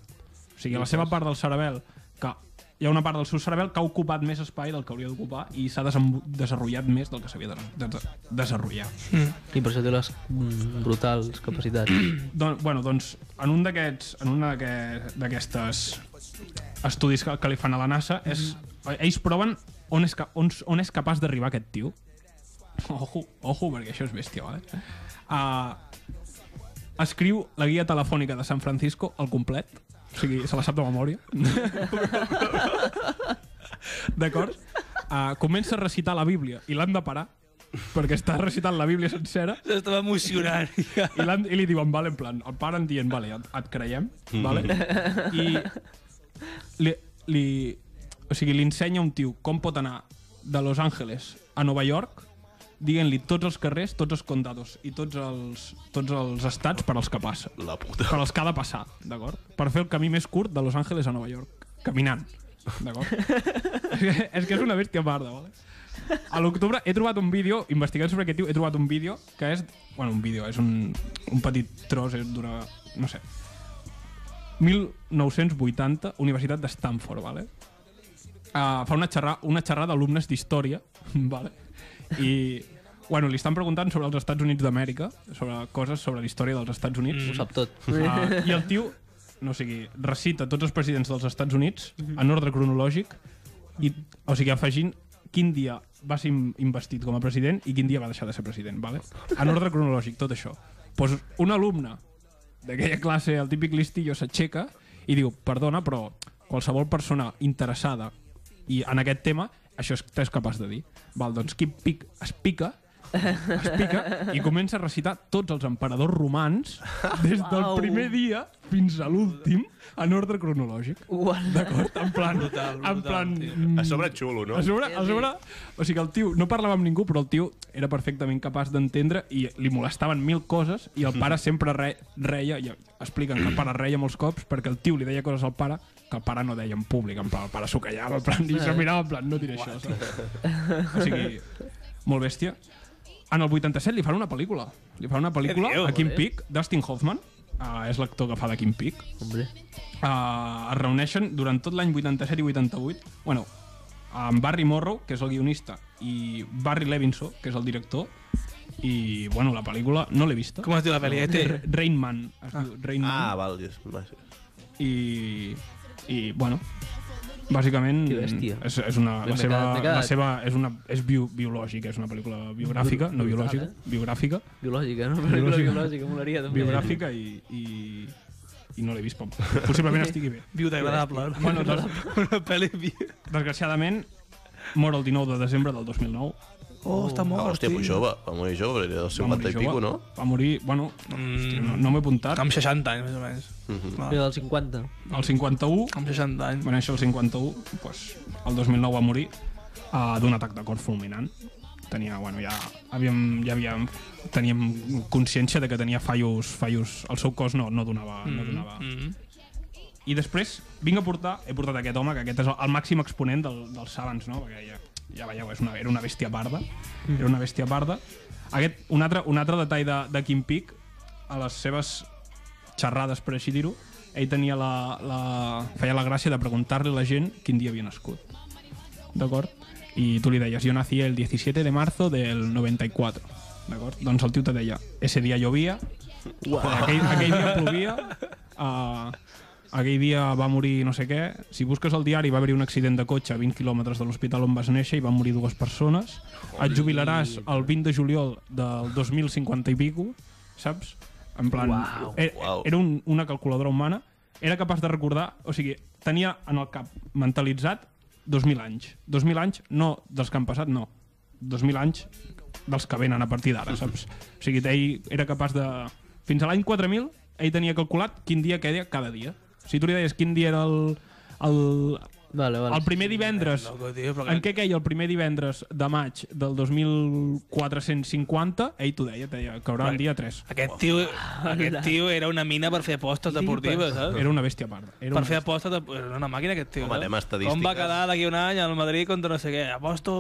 S3: O sigui, la seva part del cerebel, que hi ha una part del seu cerebel que ha ocupat més espai del que hauria d'ocupar i s'ha desenvo- desenvolupat més del que s'havia de, de, de desenvolupat.
S2: I per això té les mm, brutals capacitats.
S3: Don, bueno, doncs, en un d'aquests en una d'aquest- d'aquestes estudis que, que li fan a la NASA és, ells proven on és, ca- on, s- on és capaç d'arribar aquest tio ojo, ojo, perquè això és bèstia vale? uh, escriu la guia telefònica de San Francisco al complet o sigui, se la sap de memòria d'acord? Uh, comença a recitar la Bíblia i l'han de parar perquè està recitant la Bíblia sencera
S4: Estava emocionant. ja.
S3: i, l'han- i li diuen, vale, en plan, el pare en dient, vale, et, et creiem, vale? I li, li, o sigui, li ensenya a un tio com pot anar de Los Angeles a Nova York dient-li tots els carrers, tots els condados i tots els, tots els estats per als que passa.
S1: la puta.
S3: Per als que ha de passar, d'acord? Per fer el camí més curt de Los Angeles a Nova York. Caminant, d'acord? que, és que és una bèstia parda, vale? A l'octubre he trobat un vídeo, investigant sobre aquest tio, he trobat un vídeo que és... Bueno, un vídeo, és un, un petit tros, és d'una... no sé. 1980, Universitat de Stanford, vale? Uh, fa una, xerra, una xerrada d'alumnes d'història, vale? I... Bueno, li estan preguntant sobre els Estats Units d'Amèrica, sobre coses sobre la història dels Estats Units.
S2: Ho sap tot.
S3: Uh, I el tio, no o sigui, recita tots els presidents dels Estats Units en ordre cronològic i, o sigui, afegint quin dia va ser im- investit com a president i quin dia va deixar de ser president, vale? En ordre cronològic, tot això. Pues un alumne d'aquella classe, el típic listillo, s'aixeca i diu, perdona, però qualsevol persona interessada i en aquest tema, això és, és capaç de dir. Val, doncs qui pic, es pica es pica i comença a recitar tots els emperadors romans des del
S2: Uau.
S3: primer dia fins a l'últim en ordre cronològic. D'acord? En plan... Brutal, brutal, en plan... mm,
S1: A sobre xulo, no?
S3: A sobre, a sobre, o sigui, el tio no parlava amb ningú, però el tio era perfectament capaç d'entendre i li molestaven mil coses i el pare sempre re, reia, i expliquen que el pare reia molts cops perquè el tio li deia coses al pare que el pare no deia en públic, en plan, el pare s'ho callava, en plan, i se mirava, en plan, no diré això, saps? O sigui, molt bèstia. En el 87 li fan una pel·lícula. Li fan una pel·lícula
S4: Què dius?
S3: a Kim Peek, Dustin Hoffman, uh, és l'actor que fa de Kim Peek,
S2: Hombre.
S3: uh, es reuneixen durant tot l'any 87 i 88. Bueno, amb Barry Morrow, que és el guionista, i Barry Levinson, que és el director, i, bueno, la pel·lícula no l'he vista.
S4: Com es diu la pel·li? ET?
S3: Ra- Rain Man. Es diu Rain Man.
S1: Ah, val. és- va, sí.
S3: I, i bueno, bàsicament
S2: Que bèstia.
S3: és, és una,
S2: M'he
S3: la, seva,
S2: quedat- m'he quedat.
S3: la seva és, una, és bio, biològica, és una pel·lícula biogràfica, no
S2: Brutal,
S3: biològica,
S2: eh?
S3: biogràfica,
S2: Biològica, no? Biològica, biològica molaria també.
S3: biogràfica i, i, i no l'he vist, però possiblement estigui bé.
S4: Biodegradable.
S3: Bueno, doncs,
S4: Una pel·li... bio-
S3: Desgraciadament, mor el 19 de desembre del 2009.
S4: Oh, està
S1: Ah,
S4: mort.
S1: hòstia,
S4: tio.
S1: molt jove. Va morir jove, perquè era dels
S3: Va
S1: 50 i
S3: jove.
S1: pico, no?
S3: Va morir, bueno, hòstia, no, no m'he apuntat.
S4: Mm, Amb 60 anys, més o menys.
S3: Mhm.
S2: Era del 50.
S3: El 51,
S4: Amb 60 anys.
S3: va néixer el 51, doncs, el 2009 va morir uh, d'un atac de cor fulminant. Tenia, bueno, ja havíem, ja havíem, teníem consciència de que tenia fallos, fallos el seu cos no, no donava, no donava.
S4: Mm,
S3: I després vinc a portar, he portat aquest home, que aquest és el, el màxim exponent del, dels Savants, no? Perquè ja, ja veieu, és una, era una bèstia parda. Era una bèstia parda. Aquest, un, altre, un altre detall de, de Kim Peek, a les seves xerrades, per així dir-ho, ell tenia la, la, feia la gràcia de preguntar-li a la gent quin dia havia nascut. D'acord? I tu li deies, jo nací el 17 de marzo del 94. D'acord? Doncs el tio te deia, ese dia llovia, aquell, aquell dia plovia, uh, aquell dia va morir no sé què. Si busques el diari va haver-hi un accident de cotxe a 20 quilòmetres de l'hospital on vas néixer i van morir dues persones. Et jubilaràs el 20 de juliol del 2050 i pico, saps? En plan, er,
S2: Uau.
S3: era, era un, una calculadora humana, era capaç de recordar, o sigui, tenia en el cap mentalitzat 2.000 anys. 2.000 anys, no dels que han passat, no. 2.000 anys dels que venen a partir d'ara, saps? O sigui, ell era capaç de... Fins a l'any 4.000, ell tenia calculat quin dia quedia cada dia. Si tu li deies quin dia era el, el,
S2: Vale, vale.
S3: el primer divendres
S4: Loco, tio, però...
S3: en què queia el primer divendres de maig del 2450, ell t'ho deia, deia, caurà el dia 3.
S4: Aquest tio, aquest tio era una mina per fer apostes deportives, saps?
S3: Era una bèstia a part. Era
S4: Per
S3: una
S4: fer apostes, de... era una màquina aquest tio.
S1: Home,
S4: saps?
S1: anem a estadístiques.
S4: Com va quedar d'aquí un any al Madrid contra no sé què? Aposto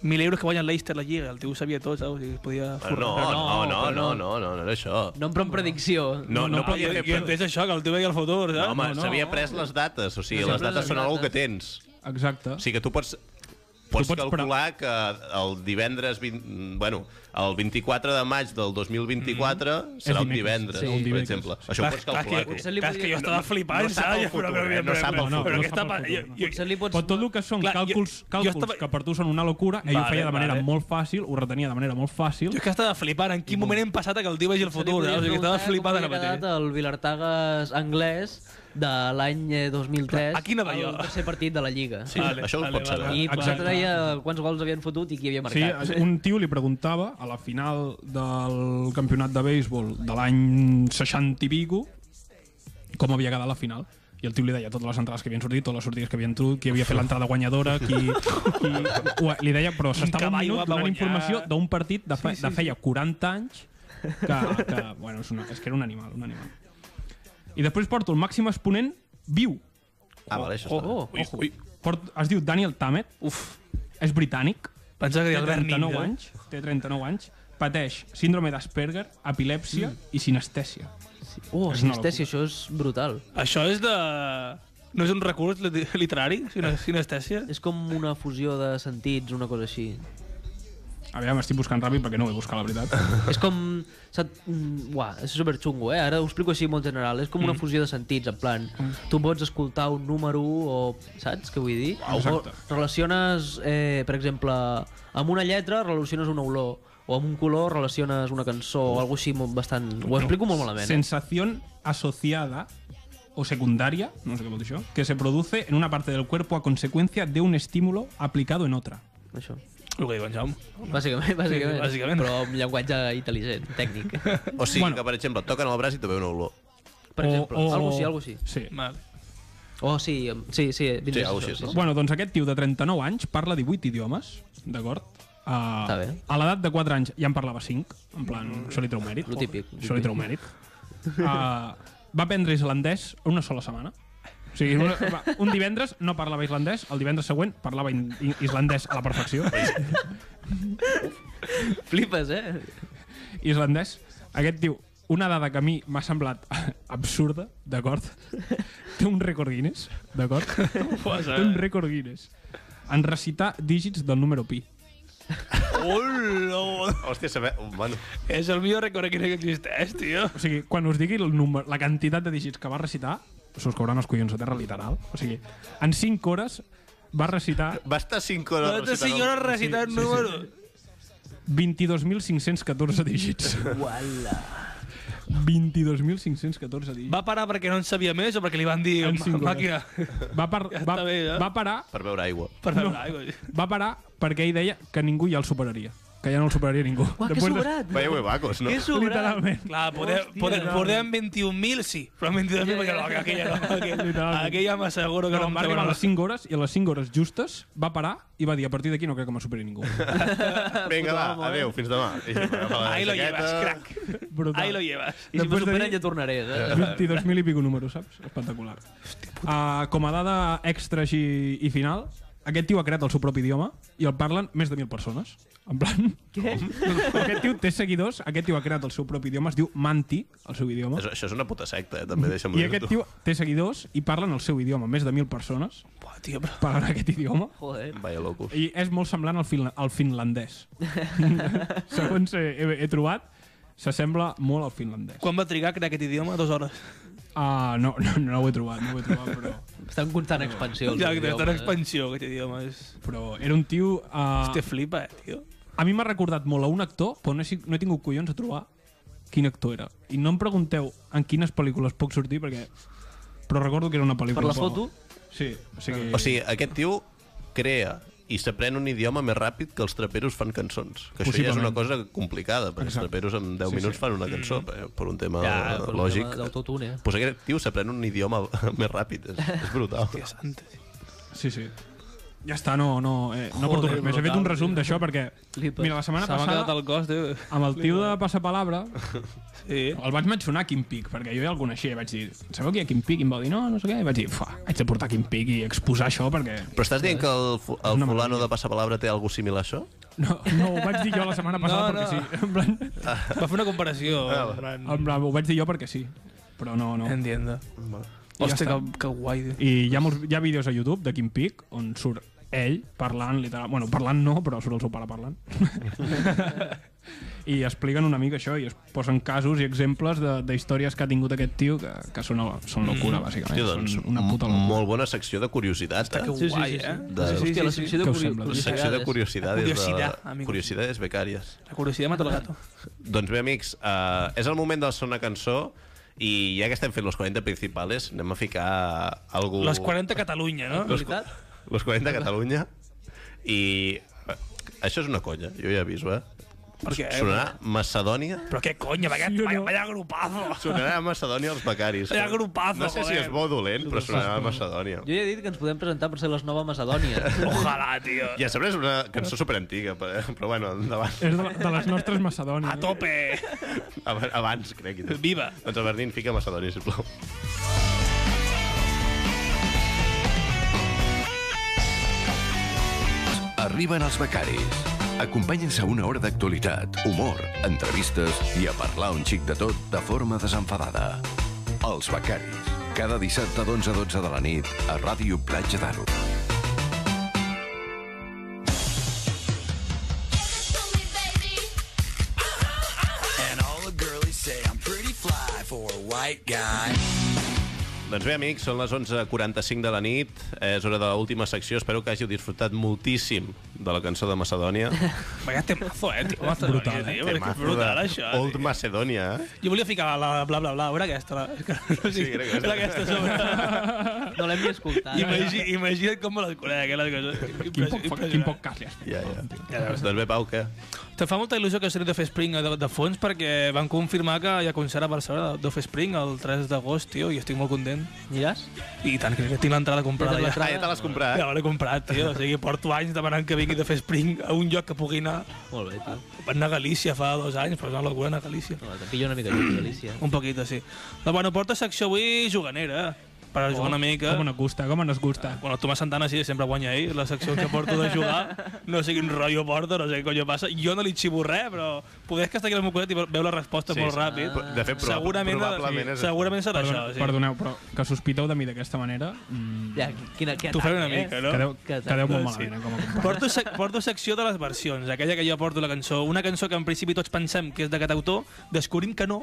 S4: 1.000 euros que guanya el Leicester la Lliga. El tio ho sabia tot, saps? O sigui, es podia
S1: Bueno,
S4: forrar.
S1: Ah, no, no, no, no, no, no, no era això.
S2: No em pren predicció.
S1: No, no, podia fer...
S4: I entès això, que el tio veia el futur,
S1: No,
S4: saps?
S1: home,
S3: no, no.
S1: s'havia pres les dates. O sigui,
S2: S'havia
S1: les
S2: pres
S1: dates
S2: les
S1: són algo que
S2: dates.
S1: tens.
S3: Exacte.
S1: O sigui que tu pots... Pots,
S3: pots
S1: calcular que el divendres... 20, bueno, el 24 de maig del 2024 serà un
S3: Mm. dimecres.
S1: divendres,
S3: Sí.
S1: per
S3: Dimecres.
S1: exemple. Això ho pots calcular. tu.
S2: potser li
S4: Clar, és que
S2: podria-
S4: jo estava flipant,
S1: no sap el
S4: saps?
S1: futur,
S4: Però-
S1: eh? No
S4: però-
S1: sap el
S4: però-
S1: futur.
S4: però
S3: No
S4: què
S3: sap
S4: està
S3: el
S4: pa-
S3: futur,
S4: jo-
S3: no.
S4: jo-
S2: Potser li pots...
S3: Però tot el que són
S4: Clar, jo-
S3: càlculs,
S4: jo
S3: càlculs
S4: estava-
S3: que per tu són una locura, ell ho
S4: Vale,
S3: feia de manera
S4: vale.
S3: molt fàcil, ho retenia de manera molt fàcil.
S4: Jo és que estava flipant. En quin moment hem passat a que el tio vegi el
S2: potser li
S4: futur,
S2: podria
S4: saps? O sigui,
S2: preguntar
S4: estava flipant
S2: com
S4: ara
S2: havia
S4: mateix.
S2: quedat el Vilartagas anglès de l'any eh, 2003.
S4: Aquí anava jo.
S2: El tercer partit de la Lliga.
S1: Sí,
S4: Vale,
S1: això ho
S4: vale,
S1: pots
S4: vale.
S1: saber.
S2: I potser
S3: Exacte.
S2: te deia quants gols havien fotut i qui havia
S3: Sí,
S2: marcat.
S3: un tio li preguntava a la final del campionat de béisbol de l'any 60 i pico com havia quedat la final i el tio li deia totes les entrades que havien sortit, totes les sortides que havien trut, qui havia fet l'entrada guanyadora, qui, qui... Ho- Li deia, però s'estava un
S4: cavall
S3: minut
S4: guap va
S3: donant
S4: guanyar.
S3: informació d'un partit de, fe, de feia 40 anys que, que bueno, és, una, és que era un animal, un animal. I després porto el màxim exponent viu.
S1: Ah, vale, això
S3: Oh,
S1: està. bé.
S3: oh,
S1: Ui,
S3: ojo.
S1: ui.
S3: Port, es diu Daniel Tammet. Uf. És britànic.
S4: Pensa que
S3: Té
S4: hi ha el eh? gran
S3: 39
S4: ninja.
S3: anys. Té 39 anys. Pateix síndrome d'Asperger, epilèpsia mm. i sinestèsia.
S2: Uh,
S3: És una
S2: sinestèsia, això és brutal.
S4: Això és de... No és un recurs lit- literari, sinó sinestèsia?
S2: És com una fusió de sentits, una cosa així.
S3: Aviam, estic buscant ràpid perquè no ho he buscat, la veritat.
S2: És com... Saps, mm, uà, és superxungo, eh? Ara ho explico així molt general. És com una fusió de sentits, en plan... Tu pots escoltar un número o... Saps què vull dir?
S3: Exacte.
S2: O relaciones, eh, per exemple, amb una lletra relaciones una olor o amb un color relaciones una cançó o alguna així molt- bastant... Ho explico molt malament. eh?
S3: Sensación asociada o secundaria, no sé qué vol dir això, que se produce en una parte del cuerpo a consecuencia de un estímulo aplicado en otra.
S2: Això.
S4: El que diu en Jaume.
S2: Bàsicament, bàsicament.
S4: Sí, bàsicament.
S2: Però amb llenguatge intel·ligent, tècnic.
S1: O sigui
S3: Bueno.
S1: bueno. que, per exemple, et toquen el braç i te ve una olor.
S2: Per exemple, algo així, algo així.
S3: Sí.
S4: Vale.
S2: Oh, sí, em- sí, sí. vindrà
S1: Sí,
S2: això,
S1: algo així, no?
S3: Bueno, doncs aquest tio de 39 anys parla 18 idiomes, d'acord? Uh,
S2: Està bé. Mm.
S3: A l'edat de 4 anys ja en parlava 5, en plan, això li treu mèrit.
S2: Lo típic, lo
S3: Això li treu mèrit. Uh, va aprendre islandès en una sola setmana. O sigui, una, va, un divendres no parlava islandès, el divendres següent parlava in, in, islandès a la perfecció.
S2: Flipes, eh?
S3: islandès. Aquest diu, una dada que a mi m'ha semblat absurda, d'acord? Té un rècord Guinness, d'acord?
S4: Pues,
S3: Té
S4: eh,
S3: un rècord Guinness. En recitar dígits del número pi.
S4: Hola!
S1: Hòstia, saber... Bueno,
S4: És el millor record que existeix, tio.
S3: O sigui, quan us digui el número, la quantitat de dígits que va recitar, se us cauran els collons a terra, literal. O sigui, en 5 hores va recitar
S1: va estar 5 hores...
S4: Tota
S1: recitant el-
S4: senyora recitant
S3: sí,
S4: sí,
S3: sí.
S4: número. Sí,
S3: 22.514 dígits.
S2: Uala.
S3: 22.514 dígits.
S4: Va parar perquè no en sabia més o perquè li van dir
S3: En
S4: "Ma-
S3: cinc hores.
S4: màquina
S3: Va, par
S4: Ja
S3: va,
S4: està bé, eh?
S3: va parar
S1: Per beure aigua.
S4: per fer una aigua.
S3: va parar perquè ell deia que ningú ja el superaria. Que ja no el superaria ningú.
S2: Uah, que
S3: Després de-
S2: sobrat!
S1: Vaya huevacos, eh, no?
S2: Que sobrat!
S3: Literalment.
S4: Clar, podem, podem, podem 21.000, sí, però 22.000 perquè no, aquella no. Aquella,
S3: Literalment.
S4: aquella m'asseguro que
S3: Però
S4: no em
S3: va arribar a
S4: treurà.
S3: les 5 hores i a les 5 hores justes va parar i va dir a partir d'aquí no crec que me superi ningú.
S1: Vinga, va, adeu, fins demà. I agafa la
S4: eh? Ahí lo
S1: jaqueta.
S4: llevas, crack.
S3: Brutal.
S4: Ahí lo llevas.
S2: I si m'ho
S3: Després de
S2: superen
S3: dir-
S2: ja tornaré, eh?
S3: 22.000 i pico números, saps? Espectacular. Uh, com a dada extra així i final, aquest tio ha creat el seu propi idioma i el parlen més de 1.000 persones. En plan... Què? Aquest tio té seguidors, aquest tio ha creat el seu propi idioma, es diu Manti, el seu idioma.
S1: Això, això és una puta secta, eh? també, deixa'm
S3: I
S1: dir-ho.
S3: aquest tio té seguidors i parlen el seu idioma, més de 1.000 persones
S4: Buah, tio, però...
S3: parlen aquest idioma.
S2: Joder.
S1: Vaya loco.
S3: I és molt semblant al, finla al finlandès. Segons he, he, he trobat, s'assembla molt al finlandès.
S4: Quan va trigar a crear aquest idioma? Dues hores.
S3: Ah, no, no, no ho he trobat, no ho he trobat, però...
S2: Està en constant expansió. el
S4: Ja, que
S2: idioma,
S4: està en
S2: eh?
S4: expansió, aquest idioma. És...
S3: Però era un tio... Uh,
S4: Hòstia, flipa, eh, tio.
S3: a mi m'ha recordat molt a un actor, però no he, sig- no he tingut collons a trobar quin actor era. I no em pregunteu en quines pel·lícules puc sortir, perquè... Però recordo que era una pel·lícula...
S2: Per la
S3: però-
S2: foto?
S3: Sí, o sigui...
S1: Mm. O sigui, aquest tio crea i s'aprèn un idioma més ràpid que els traperos fan cançons. Que això ja és una
S3: Possiblement.
S1: cosa complicada, perquè
S3: Exacte.
S1: els traperos en 10
S3: Sí,
S1: sí, minuts
S3: sí.
S1: fan una cançó, eh, per un tema
S2: Ja,
S1: eh,
S2: per un
S1: lògic.
S2: tema d'autotune. eh?
S1: Pues aquest tio s'aprèn un idioma més ràpid, és, és brutal.
S4: Tio santa, tio.
S3: Sí, sí. Ja està, no, no, eh,
S2: Joder,
S3: no porto res més. He fet un
S2: brutal.
S3: resum d'això perquè...
S2: Flipes.
S3: Mira, la setmana
S4: Se m'ha
S3: passada...
S4: quedat el cos, tio.
S3: Amb el tio de Passapalabra
S4: Sí.
S3: el vaig mencionar a Quim Pic, perquè jo ja el coneixia i vaig dir, sabeu qui hi ha Quim Pic? I em va dir, no, no sé què. I vaig dir, fa, haig de portar Quim Pic i exposar això perquè...
S1: Però estàs dient que el, fu- el
S3: una
S1: fulano de Passapalabra té alguna similar a això?
S3: No, no, ho vaig dir jo la setmana
S4: No,
S3: passada perquè
S4: no.
S3: sí. En plan,
S4: Va fer una comparació.
S3: en plan, ho vaig dir jo perquè sí. Però no, no.
S4: Entiendo.
S3: I ja
S4: Hòstia,
S3: està.
S4: que, que guai, tio.
S3: I hi ha, molts, hi ha vídeos a YouTube de Quim Pic on surt ell parlant, literal... Bueno, parlant no, però surt el seu pare parlant. I expliquen una mica això i es posen casos i exemples de, de històries que ha tingut aquest tio que, que són, són
S4: Mm-hmm.
S3: locura, bàsicament.
S1: Tio, doncs,
S3: són una puta locura.
S1: molt bona secció de curiositat, eh?
S2: Sí, sí,
S4: Guai,
S2: sí. sí.
S4: eh?
S1: De-
S2: sí, sí, Hòstia, la secció de
S3: Què us
S2: curi-
S3: sembla?
S2: curiositats.
S1: Secció de curiositats.
S4: Curiosidad,
S1: de...
S4: amigos.
S1: Curiositats becàries.
S4: La curiositat mata el gato.
S1: Doncs bé, amics, uh, és el moment de la segona cançó i ja que estem fent los 40 principales, anem a ficar algú...
S4: Les 40 Catalunya, no?
S1: Uh. Los,
S2: Veritat?
S1: los 40 de Catalunya. I eh, això és una colla, jo ja aviso, eh?
S4: Per què?
S1: Sonarà Macedònia.
S4: Però què conya, vaya,
S3: Sí o
S4: vaya,
S3: no?
S4: vaya grupazo.
S1: Sonarà Macedònia als becaris. eh?
S4: Vaya grupazo,
S1: No sé si
S4: joder.
S1: és bo o dolent, però sonarà Macedònia.
S2: Jo ja he dit que ens podem presentar per ser les Nova Macedònia.
S4: Ojalá, tío.
S1: I a sobre és una cançó superantiga, però però bueno, endavant.
S3: És de, de les nostres Macedònia.
S4: A tope.
S1: Ab- Abans, crec.
S4: Viva.
S1: Doncs el Bernin, fica Macedònia, sisplau.
S6: Arriben els becaris. Acompanyen-se a una hora d'actualitat, humor, entrevistes i a parlar un xic de tot de forma desenfadada. Els becaris. Cada dissabte d'11 a 12 de la nit a Ràdio Platja d'Aro.
S7: And all the girlies say I'm pretty fly for a white guy.
S1: Doncs bé, amics, són les 11.45 de la nit, eh, és hora de l'última secció, espero que hàgiu disfrutat moltíssim de la cançó de Macedònia.
S4: Vaya temazo, eh, tio.
S3: Brutal, eh?
S4: tio, és que és brutal, això. eh,
S1: Old Macedònia, eh?
S4: Jo volia ficar la, la bla bla bla, era aquesta. La, és que, no sé,
S1: Sí, era aquesta.
S4: era aquesta sobre.
S2: No l'hem ni escoltat.
S4: Imagina, imagina't com me la conec, aquella cosa.
S3: Quin poc, fa- quin poc cas li has fet.
S1: Ja, ja. Doncs bé, Pau, què?
S4: Te fa molta il·lusió que has tret de fer Spring de, de fons perquè van confirmar que hi ha concert a Barcelona de fer Spring el 3 d'agost, tio, i estic molt content.
S2: Miràs?
S4: I tant, crec que tinc l'entrada eh? comprada
S2: Ja te
S4: ja.
S2: l'has
S1: Ah, ja te l'has comprat.
S4: Ja me l'he comprat, tio. O sigui, porto anys demanant que vingui de fer Spring a un lloc que pugui anar.
S2: Molt bé, tio.
S4: Vaig anar a Galícia fa dos anys, però és una locura anar a Galícia.
S2: No, te pillo una mica lluny, Galícia.
S4: Un poquito, sí. No, bueno, porta secció avui juganera, per jugar Oh, una mica.
S3: Com no gusta, com no es gusta.
S4: Bueno, el Tomàs Santana sí, sempre guanya ell, la secció que porto de jugar, no sé quin rotllo porta, no sé què coño passa. Jo no li xivo res, però poder que està aquí al meu costat i veu la resposta
S1: Sí,
S4: sí, molt
S1: sí.
S4: ràpid.
S1: Ah. De fet, proba-
S4: segurament,
S1: probablement
S4: sí,
S1: és-
S4: segurament serà
S3: Perdona,
S4: això. Sí.
S3: Perdoneu, però que sospiteu de mi d'aquesta manera... Mm,
S2: Ja, quina, quina eh?
S4: T'ho faré una mica, no?
S3: quedeu,
S2: que tant.
S3: quedeu molt malament, eh, com a company.
S4: Porto, sec porto secció de les versions, aquella que jo porto la cançó. Una cançó que en principi tots pensem que és d'aquest autor, descobrim que no,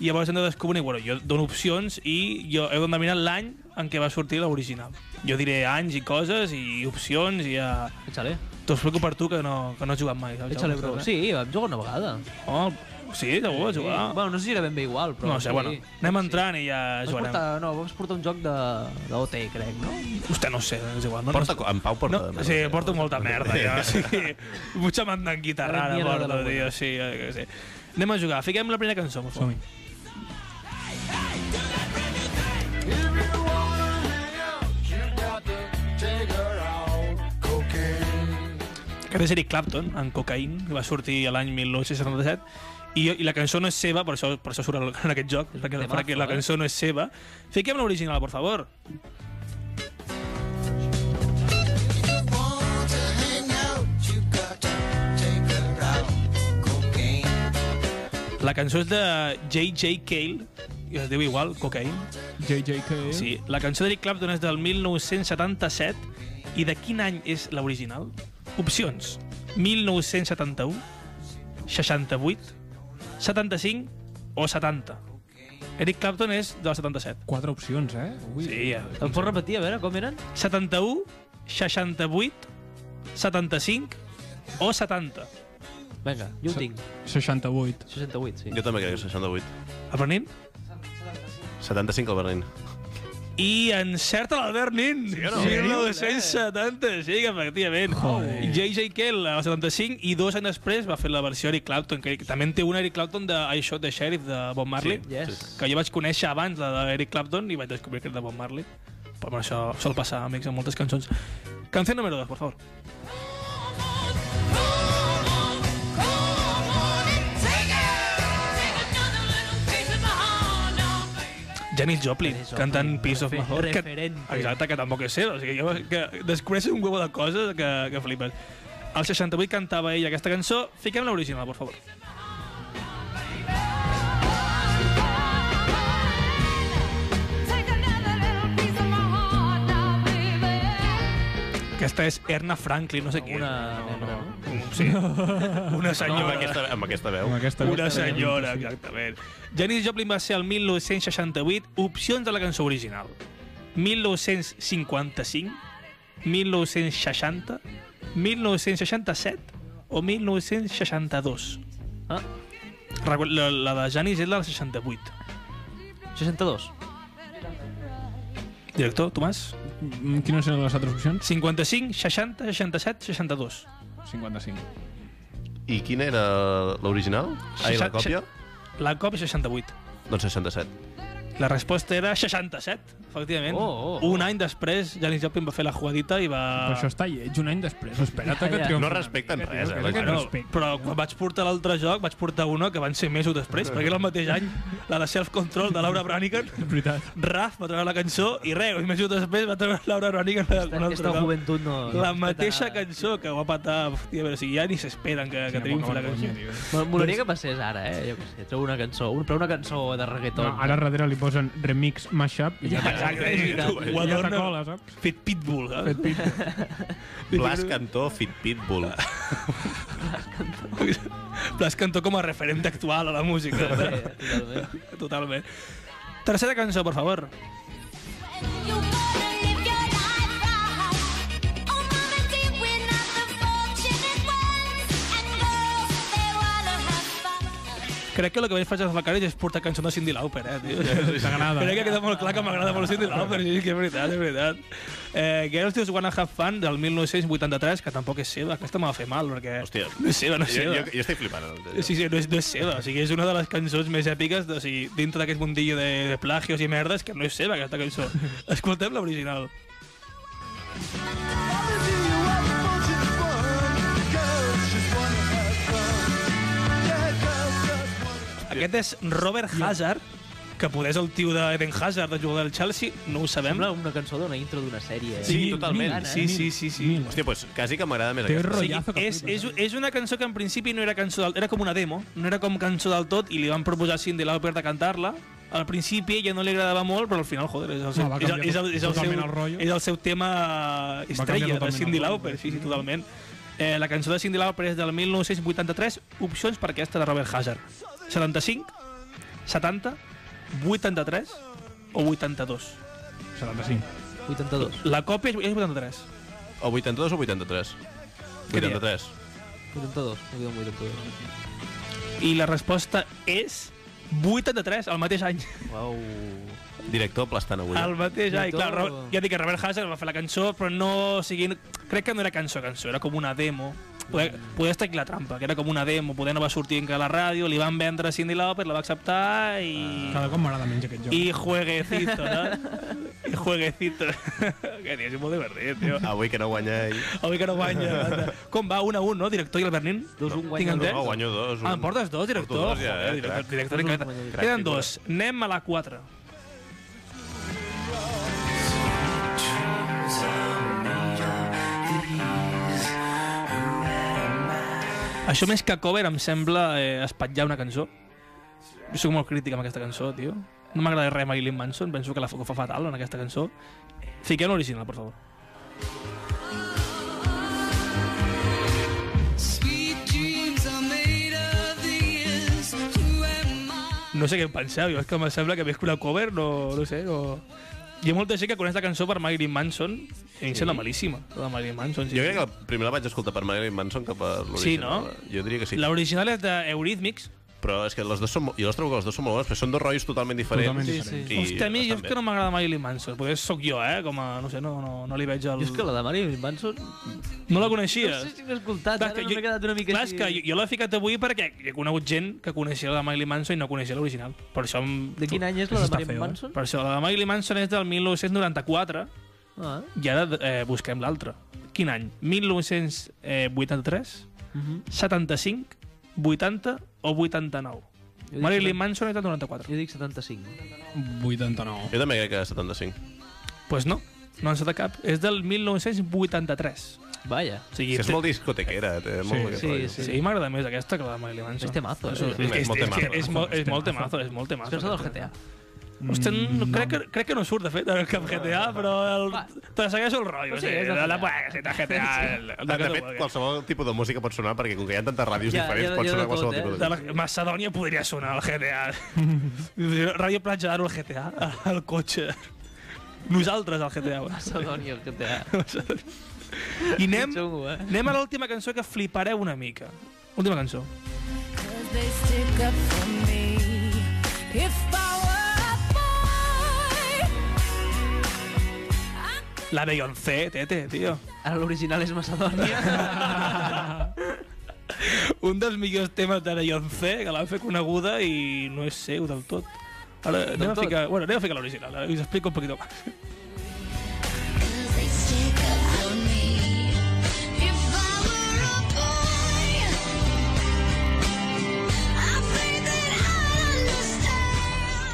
S4: i llavors hem de descobrir, bueno, jo dono opcions i jo heu d'endevinar l'any en què va sortir l'original. Jo diré anys i coses i opcions i ja...
S2: Échale,
S4: T'ho explico per tu, que no, que no has jugat mai. saps?
S2: échale, bro. Sí, vam jugar una vegada.
S4: Oh, sí, segur, vas jugar.
S2: Sí. Bueno, no sé si era ben bé igual, però...
S4: no sé,
S2: sí.
S4: bueno, anem entrant i ja
S2: Vas
S4: jugarem.
S2: portar, no, vas portar un joc de, de OT, crec, no?
S4: Hòstia, no ho sé, és igual. No,
S1: Porta,
S4: no,
S1: en Pau porta...
S4: no, sí, porto molta merda, ja. Sí, mucha mandanguita
S2: Ara
S4: rara,
S2: mierda de la
S4: porto,
S2: buena.
S4: tio, sí, jo què sé. Anem a jugar, fiquem la primera cançó, per favor.
S3: Som-hi.
S4: Aquest és Eric Clapton, en Cocaine, que va sortir a l'any 1977, i, i la cançó no és seva, per això, per això surt el- en aquest joc, perquè,
S2: temazo,
S4: perquè la
S2: eh?
S4: cançó no és seva. Fiquem l'original, por favor. La cançó és de J.J. Cale, i es diu igual, Cocaine.
S3: JJK...
S4: Sí, la cançó d'Eric Clapton és del 1977 i de quin any és l'original? Opcions 1971 68 75 o 70 Eric Clapton és del 77
S3: Quatre opcions, eh? Ui.
S4: Sí, ja.
S2: Em pots repetir, a veure, com eren?
S4: 71 68 75 o 70
S2: Vinga, jo ho tinc.
S3: 68.
S2: 68, sí.
S1: Jo també crec que 68.
S4: aprenent
S1: 75 al Berlín.
S4: i encerta l'Albert Nin. Sí,
S1: o no?
S4: 1970, sí, que efectivament. J.J. Kell, al 75, i dos anys després va fer la versió Eric Clapton, que també en té una Eric Clapton de I Shot the Sheriff, de Bob Marley,
S1: Sí.
S2: Yes.
S4: que jo vaig conèixer abans la d'Eric Clapton i vaig descobrir que era de Bob Marley. Però bueno, això sol passar, amics, en moltes cançons. Canció número 2, por favor.
S5: oh,
S4: Janis Joplin,
S2: Janis Joplin,
S4: cantant Piece of My
S2: refer-
S4: Heart. Que,
S2: referente.
S4: exacte, que tampoc és seva. O sigui, jo, que descobreixes un huevo de coses que, que flipes. Al 68 cantava ell aquesta cançó. Fiquem l'original, por favor.
S5: oh,
S4: Aquesta és Erna Franklin, no sé qui.
S2: Una
S4: és.
S2: negra,
S4: Sí. Una senyora.
S1: Amb aquesta, amb aquesta veu.
S3: Amb aquesta...
S4: Una senyora, exactament. Janis Joplin va ser el 1968 opcions de la cançó original. 1955, 1960, 1967 o 1962.
S2: Ah,
S4: Recu- La, la de Janis és la del 68.
S2: 62.
S4: Director, Tomàs?
S3: Mm, Quines eren les altres opcions?
S4: 55, 60, 67, 62.
S3: 55.
S1: I quina era l'original? Ai, la
S4: Seixanta-
S1: còpia?
S4: La còpia 68.
S1: Doncs 67.
S4: La resposta era 67, efectivament.
S2: Oh, oh, oh.
S4: Un any després, Janis Joplin va fer la jugadita i va...
S3: Però això està lleig un any després. Espera't
S2: Ja,
S3: a que
S2: ja.
S1: Ah,
S3: triomfi.
S1: No respecten res, eh, la
S3: Que
S1: gent.
S4: No,
S3: respecte.
S4: però quan vaig portar l'altre joc, vaig portar una que van ser mesos després, perquè era el mateix any, la de Self Control de Laura Branigan.
S3: És veritat.
S4: Raf va treure la cançó i res, uns mesos després va treure Laura Branigan la, un altre
S2: Aquesta
S4: cop.
S2: joventut no...
S4: La
S2: no
S4: mateixa
S2: respeta nada.
S4: cançó que va patar... Hòstia, a veure, o sigui, ja ni s'esperen que, que
S3: Quina
S4: triomfi
S3: poca
S4: la
S3: vergonya,
S4: cançó.
S3: tio.
S2: Mol- Molaria que passés ara, eh? Jo què sé, treu una cançó, un, però una cançó de reggaeton.
S3: No, ara darrere li posen remix, mashup i ja,
S4: Exacte, eh?
S2: és veritat.
S4: i ho
S3: ja te
S4: adorna.
S3: cola, saps?
S4: Fet pitbull, saps? Fet
S1: Blas Cantó, Fit Pitbull.
S4: pitbull. Plas Cantó com a referent actual a la música.
S2: Eh, totalment.
S4: Totalment. Tercera cançó, per favor.
S5: You wanna live your life right. Oh, mama, dear, we're not the fortunate ones. And girls, they wanna have fun.
S4: Crec que el que vaig fer als becaris és portar cançons de Cindy Lauper, eh, tio.
S3: T'agrada.
S4: Crec que queda molt clar que m'agrada molt Cindy Lauper, sí, que és veritat, és veritat. Eh, Girls Just Wanna Have Fun, del 1983, que tampoc és seva. Aquesta m'ha va fer mal, perquè...
S1: Hòstia.
S4: No és seva, no és
S1: Jo,
S4: seva.
S1: jo, jo estic flipant. eh?
S4: Sí, sí, no és, no és seva. O sigui, és una de les cançons més èpiques de, o sigui, dintre d'aquest mundillo de, de plagios i merdes que no és seva, aquesta cançó. Escoltem l'original. Aquest és Robert Hazard, que poder és el tio d'Eden Hazard, de jugador del Chelsea, no ho sabem.
S2: Sembla una cançó d'una intro d'una sèrie.
S1: Sí,
S2: eh?
S1: totalment.
S2: Gana, eh?
S4: Sí, sí, sí, sí.
S3: Mil.
S1: Hòstia, doncs quasi que m'agrada més
S3: Té
S1: aquesta.
S4: O sigui,
S3: Rotllazo que
S4: és, és,
S3: flipes, eh?
S4: és una cançó que en principi no era cançó del, era com una demo, no era com cançó del tot i li van proposar a Cindy Lauper de cantar-la. Al principi ella no li agradava molt, però al final, joder, és el seu,
S3: No, va
S4: és el,
S3: canviar
S4: és el, és el,
S3: totalment el
S4: seu,
S3: rotllo.
S4: és el seu tema estrella de
S3: totalment
S4: Cindy
S3: el rotllo,
S4: Lauper, sí, sí, totalment. Eh, la cançó de Cindy Lauper és del 1983, opcions per aquesta de Robert Hazard. 75, 70, 83 o 82.
S3: 75.
S2: 82.
S4: La còpia és és 83.
S1: O 82 o 83?
S4: Què dia?
S1: 83.
S2: 82. No queda un 82.
S4: I la resposta és 83, al mateix any.
S2: Uau.
S1: Director aplastant avui. eh?
S4: El mateix any,
S2: Director.
S4: clar, Robert, ja dic que Robert Hazard va fer la cançó, però no, o sigui, no- crec que no era cançó, cançó, era com una demo. Poder, poder estar aquí la trampa, que era com una demo, poder no va sortir encara a la ràdio, li van vendre a Cindy Lauper, la va acceptar i...
S3: Cada cop m'agrada menys aquest joc.
S4: I jueguecito, no? I jueguecito. que tio, és molt divertit, tio.
S1: Avui que no guanya ell.
S4: Avui que no guanya. anda. Com va? 1 a 1, no? Director i el Bernin?
S2: Dos, un guanya,
S4: Tinc entès?
S1: No, guanyo dos.
S4: Ah, em portes dos, director?
S1: Porto dos, ja,
S4: Joder,
S1: eh,
S4: director,
S1: crac.
S4: director,
S2: Dos, un
S4: director.
S2: guanya,
S1: crac,
S4: Queden
S1: figura.
S4: dos. Anem a la 4. Això més que cover em sembla eh, espatllar una cançó. Jo soc molt crític amb aquesta cançó, tio. No m'agrada res Marilyn Manson, penso que la fa, que ho fa fatal en aquesta cançó. Fiquem l'original, per favor. No sé què en penseu, jo és que em sembla que més que una cover, no, no sé, no... Hi ha molta gent que coneix la cançó per Marilyn Manson, i a mi em sembla malíssima, la de Marilyn Manson. Sí,
S1: Jo
S4: sí.
S1: crec que la- primer la vaig escoltar per Marilyn Manson que per l'original.
S4: Sí, no?
S1: Jo diria que sí.
S4: L'original és d'Eurythmics.
S1: Però és que les dos són... mo- Jo les trobo que les dos són molt bones, però són dos rotllos totalment diferents.
S3: Totalment
S1: I
S3: Sí, diferents.
S1: estan
S4: Hòstia, a mi jo és
S1: bé.
S4: que no m'agrada Marilyn Manson. Potser sóc jo, eh? Com a, no sé, no, no, no li veig el...
S2: Jo és que la de Marilyn Manson...
S4: No la
S2: No
S4: coneixies.
S2: sé si l'he escoltat,
S4: Clar,
S2: ara no m'he quedat una mica
S4: clar,
S2: així...
S4: és que jo, jo l'he ficat avui perquè he conegut gent que coneixia la de Marilyn Manson i no coneixia l'original. Per això... Em...
S2: De quin any és la
S3: Això
S2: de
S3: està
S2: Marilyn
S3: feo, eh?
S2: Manson?
S4: Per això la de Marilyn Manson és del 1994
S2: Ah,
S4: i ara eh, busquem l'altra. Quin any? eh, 1983,
S2: Mhm.
S4: 75, 80 o 89?
S2: Jo dic
S4: Marilyn
S2: setanta-
S4: Manson és del 94.
S2: jo dic 75.
S3: 89.
S1: Jo també crec que 75.
S4: Doncs pues no, no en sé de cap. És del 1983.
S2: Vaya.
S4: O sigui,
S1: Sí, és molt discotequera, eh, té molt aquest
S2: sí,
S1: rotllo.
S2: sí.
S4: Sí, sí m'agrada més aquesta que la de Marilyn Manson.
S2: És temazo, eh?
S4: Això-
S2: És
S4: És, és,
S1: molt
S4: és, que
S1: temazo.
S4: és, molt, és molt temazo, és molt
S2: És
S4: temazo.
S2: cançó del
S4: aquesta.
S2: GTA.
S4: Hòstia,
S1: Mm,
S4: no, crec, que, crec que no surt, de fet, en cap GTA, però el,
S2: Va.
S4: te segueix el rotllo.
S2: Pues sí,
S4: sí,
S2: és
S4: de
S2: del
S4: la, la,
S2: GTA.
S4: la, la GTA, el, el,
S1: De, Ah, de
S4: el,
S1: fet, qualsevol tipus de música pot sonar, perquè com que hi ha tantes ràdios
S2: Ja,
S1: diferents,
S2: ja-
S1: pot
S2: ja
S1: sonar
S2: de tot,
S1: qualsevol
S2: eh?
S1: tipus de
S4: de la Macedònia podria sonar el GTA. Ràdio Platja d'Aro, el GTA, el cotxe. Nosaltres, el GTA. bueno.
S2: Macedònia, el GTA.
S4: I anem,
S2: Xungo, eh?
S4: anem a l'última cançó que flipareu una mica. Última cançó.
S5: Cause they stick up for me. If I were a boy, I
S4: La Beyoncé, tete, tio.
S2: Ara l'original és Macedònia.
S4: un dels millors temes de Beyoncé, que l'han fet coneguda i no és seu del tot. Ahora, anem a
S2: tot.
S4: ficar, bueno, anem a ficar l'original, ara us explico un poquito más.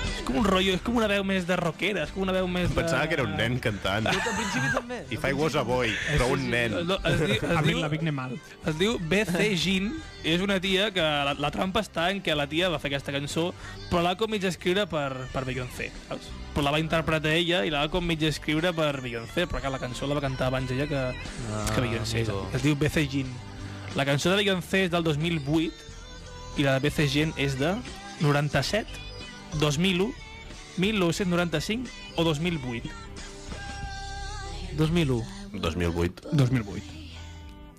S4: És com un rotllo, és com una veu més de rockera, és com una veu més de...
S1: Pensava que era un nen cantant.
S2: Al principi també.
S1: I fa was a boy, però un nen.
S4: No, es, diu,
S3: A
S4: es,
S3: mi la
S4: diu,
S3: vigne mal.
S4: es diu BC Jean, és una tia que la, la trampa està en que la tia va fer aquesta cançó, però l'ha com mig escriure per, per Beyoncé, saps? Però la va interpretar ella i la va com mig escriure per Beyoncé, però que la cançó la va cantar abans ella que, ah, que Beyoncé.
S2: amigo.
S4: Es diu BC Jean. La cançó de Beyoncé és del 2008 i la de BC Jean és de 97, 2001, 1995 o 2008.
S2: 2001.
S1: 2008.
S3: 2008.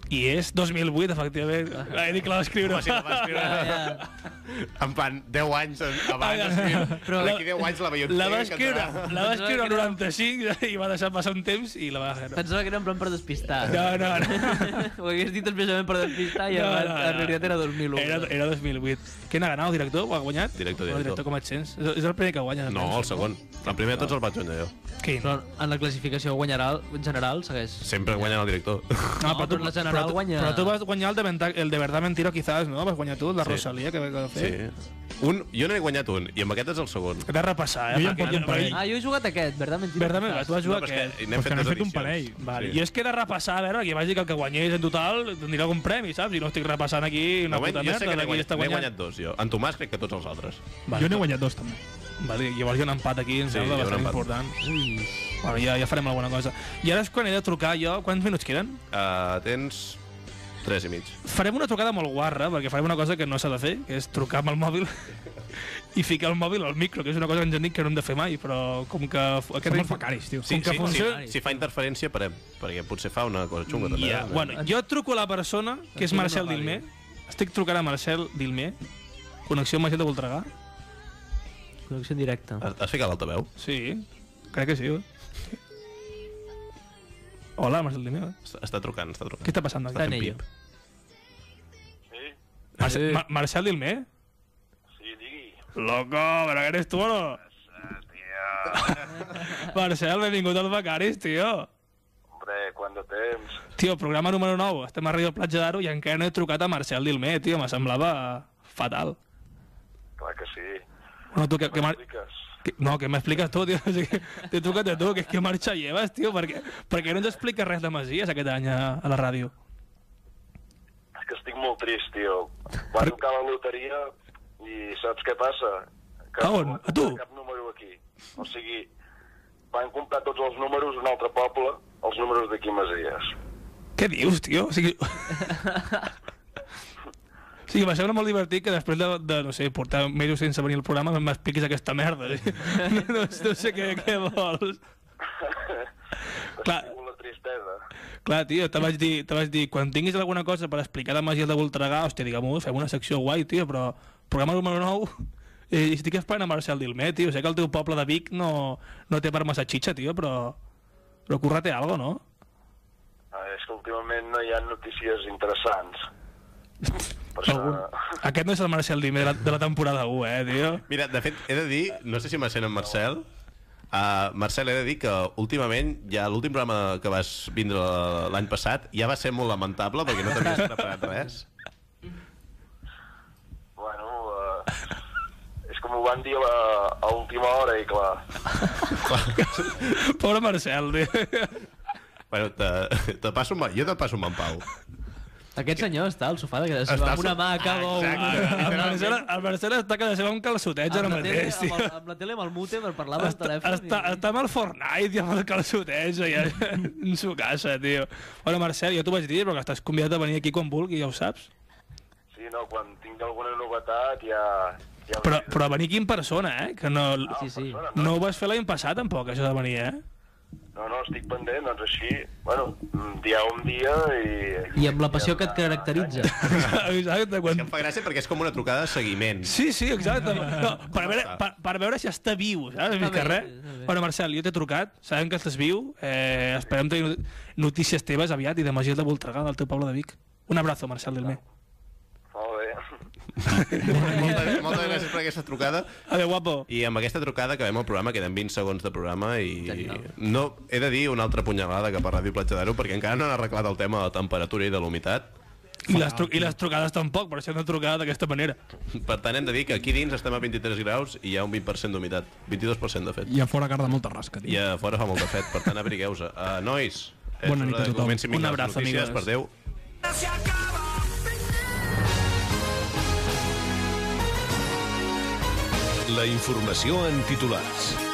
S4: I és 2008, efectivament. Ah. He dit que la va escriure.
S1: Home, si la va escriure...
S2: Ja,
S1: En plan, 10 anys abans
S4: Ah,
S1: d'escriure. Però...
S4: però-
S1: D'aquí 10 anys la veiem.
S4: La va escriure, la va escriure el
S2: Pensava
S4: 95 i va deixar passar un temps i la va... No,
S2: Pensava que era en plan per despistar.
S4: no, no. no.
S2: Ho hagués dit expressament per despistar i
S4: No,
S2: no,
S4: no, no.
S2: en realitat era 2001.
S4: Era, era 2008. Què n'ha ganat, el director? Ho ha guanyat?
S1: Director,
S4: Bueno,
S1: director.
S4: com et sents? És, és el primer que eh? guanya.
S1: No, el segon. El primer de tots el vaig guanyar jo.
S4: Quin?
S2: Però en la classificació guanyarà general segueix.
S1: Sempre guanyen el director.
S2: No, però la general
S4: però tu,
S2: guanya-
S4: Però tu vas guanyar el de, Venta, el de verdad mentiro, quizás, no? Vas guanyar tu, el de
S1: Sí.
S4: Rosalía, que, que va fer.
S1: Sí. Un, jo n'he guanyat un, i amb aquest és el segon.
S4: He de repassar, eh?
S3: Jo ja en
S4: perquè-
S3: porto un parell.
S2: Ah, jo he jugat aquest, verdad? Mentira.
S4: Verdament,
S2: Quizás.
S4: tu vas jugar
S1: No, però és
S4: aquest.
S1: que
S3: Però
S1: n'hem
S3: és que
S1: fet
S3: n'hem
S1: dos
S3: fet un
S1: edicions.
S3: parell.
S4: Vale.
S1: Sí.
S4: Sí. Jo és que he de repassar, a veure, que vagi que el que guanyés en total tindrà algun premi, saps? I no estic repassant aquí una
S1: No,
S4: puta
S1: jo sé
S4: merda.
S1: que n'he
S4: d'aquí
S1: guanyat,
S4: està
S1: n'he
S4: guanyant.
S1: guanyat dos, jo. En Tomàs crec que tots els altres.
S4: Vale,
S3: Jo n'he guanyat dos, també.
S4: Vale, llavors hi ha un empat aquí, em
S1: Sí, hi ha
S4: sembla
S1: un
S4: bastant
S1: empat.
S4: important.
S2: Ui,
S4: Bueno, ja, ja farem alguna cosa. I ara és quan he de trucar jo. Quants minuts queden?
S1: Uh, tens tres i mig.
S4: Farem una trucada molt guarra, perquè farem una cosa que no s'ha de fer, que és trucar amb el mòbil i ficar el mòbil al micro, que és una cosa que ens han dit que no hem de fer mai, però com que... f- Aquest
S3: Som els becaris, tio.
S1: Sí,
S4: que
S1: sí, sí,
S4: funcioni.
S1: si fa interferència, parem. Perquè potser fa una cosa xunga. també.
S4: Ja, bueno, jo truco a la persona, que és
S2: Aquí no
S4: Marcel
S2: val,
S4: Dilmé. Estic trucant a Marcel Dilmé. Connexió amb Marcel de Voltregà.
S2: connexió en directe.
S4: Ah.
S1: Has, has ficat l'altaveu?
S4: Sí, crec que sí. eh? Hola, Marcel Dilmé. eh?
S1: Està, està trucant, està trucant.
S4: Què està passant
S2: Està
S4: aquí?
S1: fent
S2: en ello.
S1: pip.
S4: Marcel, Mar Marcel Dilmé?
S8: Sí, digui.
S4: Loco, però que eres tu o no? Marcel, benvingut als Becaris, tio.
S8: Hombre, quant de temps.
S4: Tio, programa número 9. Estem a Ràdio Platja d'Aro i encara no he trucat a Marcel Dilmé, tio. Me semblava fatal.
S8: Clar que sí.
S4: No, tu, que, que, mar...
S8: Expliques.
S4: que, no, que m'expliques tu, tio. Sí, que T'he trucat a tu, que, que marxa lleves, tio. Perquè, perquè no ens expliques res de Masies aquest any a, a la ràdio.
S8: És que estic molt trist, tio. Va tocar la loteria i saps què passa? Que
S4: A on?
S8: no
S4: A tu?
S8: hi ha Cap número aquí. O sigui, van comprar tots els números d'un altre poble, els números d'aquí a Masies.
S4: Què dius, tio? O sigui... Sí, va semblar molt divertit que després de, de no sé, portar mesos sense venir al programa m'expliquis aquesta merda. Sí? No, no, no sé què, què vols. Clar,
S8: Tinc una tristesa.
S4: clar, tio, te vaig, dir, te vaig dir, quan tinguis alguna cosa per explicar de màgia de Voltregà, hòstia, diguem-ho, fem una secció guai, tio, però programa número 9, eh, estic esperant a Marcel Dilmé, tio, sé que el teu poble de Vic no, no té per massa xitxa, tio, però, però curra-te algo, no?
S8: Ah, és que últimament no hi ha notícies interessants. Per això...
S4: Aquest no és el Marcel Dimé de la, de la temporada 1, eh, tio?
S1: Mira, de fet, he de dir, no sé si me sent en Marcel, Uh, Marcel, he de dir que últimament, ja l'últim programa que vas vindre l'any passat, ja va ser molt lamentable perquè no t'havies preparat res.
S8: Bueno, eh, és com ho van dir a, la, a última hora i clar...
S4: Pobre Marcel, tio.
S1: Bueno, te, te passo, un ma- jo te passo un man pau.
S2: Aquest senyor està al sofà de casa
S1: Està al
S2: seva, amb una
S1: so-
S2: mà que bou.
S1: Exacte.
S4: El Marcel, el Marcel està cada seva un calçoteig
S2: Amb
S4: ara
S2: la, tele,
S4: mateix,
S2: amb, el,
S4: tio.
S2: amb la tele amb el mute per parlar pel
S4: Està,
S2: telèfon.
S4: està,
S2: i...
S4: està amb el Fortnite i amb el calçoteig allà en su casa, tio. Bueno, Marcel, jo t'ho vaig dir, però que estàs convidat a venir aquí quan vulgui, ja ho saps.
S8: Sí, no, quan tinc alguna novetat ja... ja us
S4: Però,
S8: diré.
S4: però venir aquí en persona, eh? Que no,
S2: Sí, sí.
S8: Persona,
S4: no ho vas fer l'any passat, tampoc, això de venir, eh?
S8: No, no, estic pendent, doncs així, bueno, mm, dia un dia i...
S2: I amb la passió que et caracteritza.
S4: Exacte,
S1: És
S4: quan,
S1: que em fa gràcia perquè és com una trucada de seguiment.
S4: Sí, sí, exacte. No, per, veure, per, per veure si està viu, saps? Més
S2: Està
S4: que
S2: bé,
S4: res.
S2: està bé.
S4: Bueno, Marcel, jo t'he trucat, sabem que estàs viu, eh, esperem tenir not- notícies teves aviat i de Magil de Voltregà, del teu poble de Vic. Un abrazo, Marcel, del meu.
S8: Molt bé.
S1: moltes, moltes gràcies per aquesta trucada.
S4: Adéu, guapo.
S1: I amb aquesta trucada acabem el programa, queden 20 segons de programa i no he de dir una altra punyalada cap a Ràdio Platja d'Aro perquè encara no han arreglat el tema de la temperatura i de l'humitat.
S4: I les, tru I les trucades tampoc, per això hem de trucar d'aquesta manera.
S1: Per tant, hem de dir que aquí dins estem a 23 graus i hi ha un 20% d'humitat. 22% de fet.
S3: I a fora carda molta rasca,
S1: I
S3: tio.
S1: a fora fa molta fet, per tant, abrigueu-se. Uh, nois, és hora
S3: Bona nit
S1: de
S3: a
S1: que
S3: tothom.
S1: comencin vinga
S4: Un
S1: les
S4: abraç,
S1: notícies,
S4: amigues.
S1: per Déu.
S6: La informació en titulars.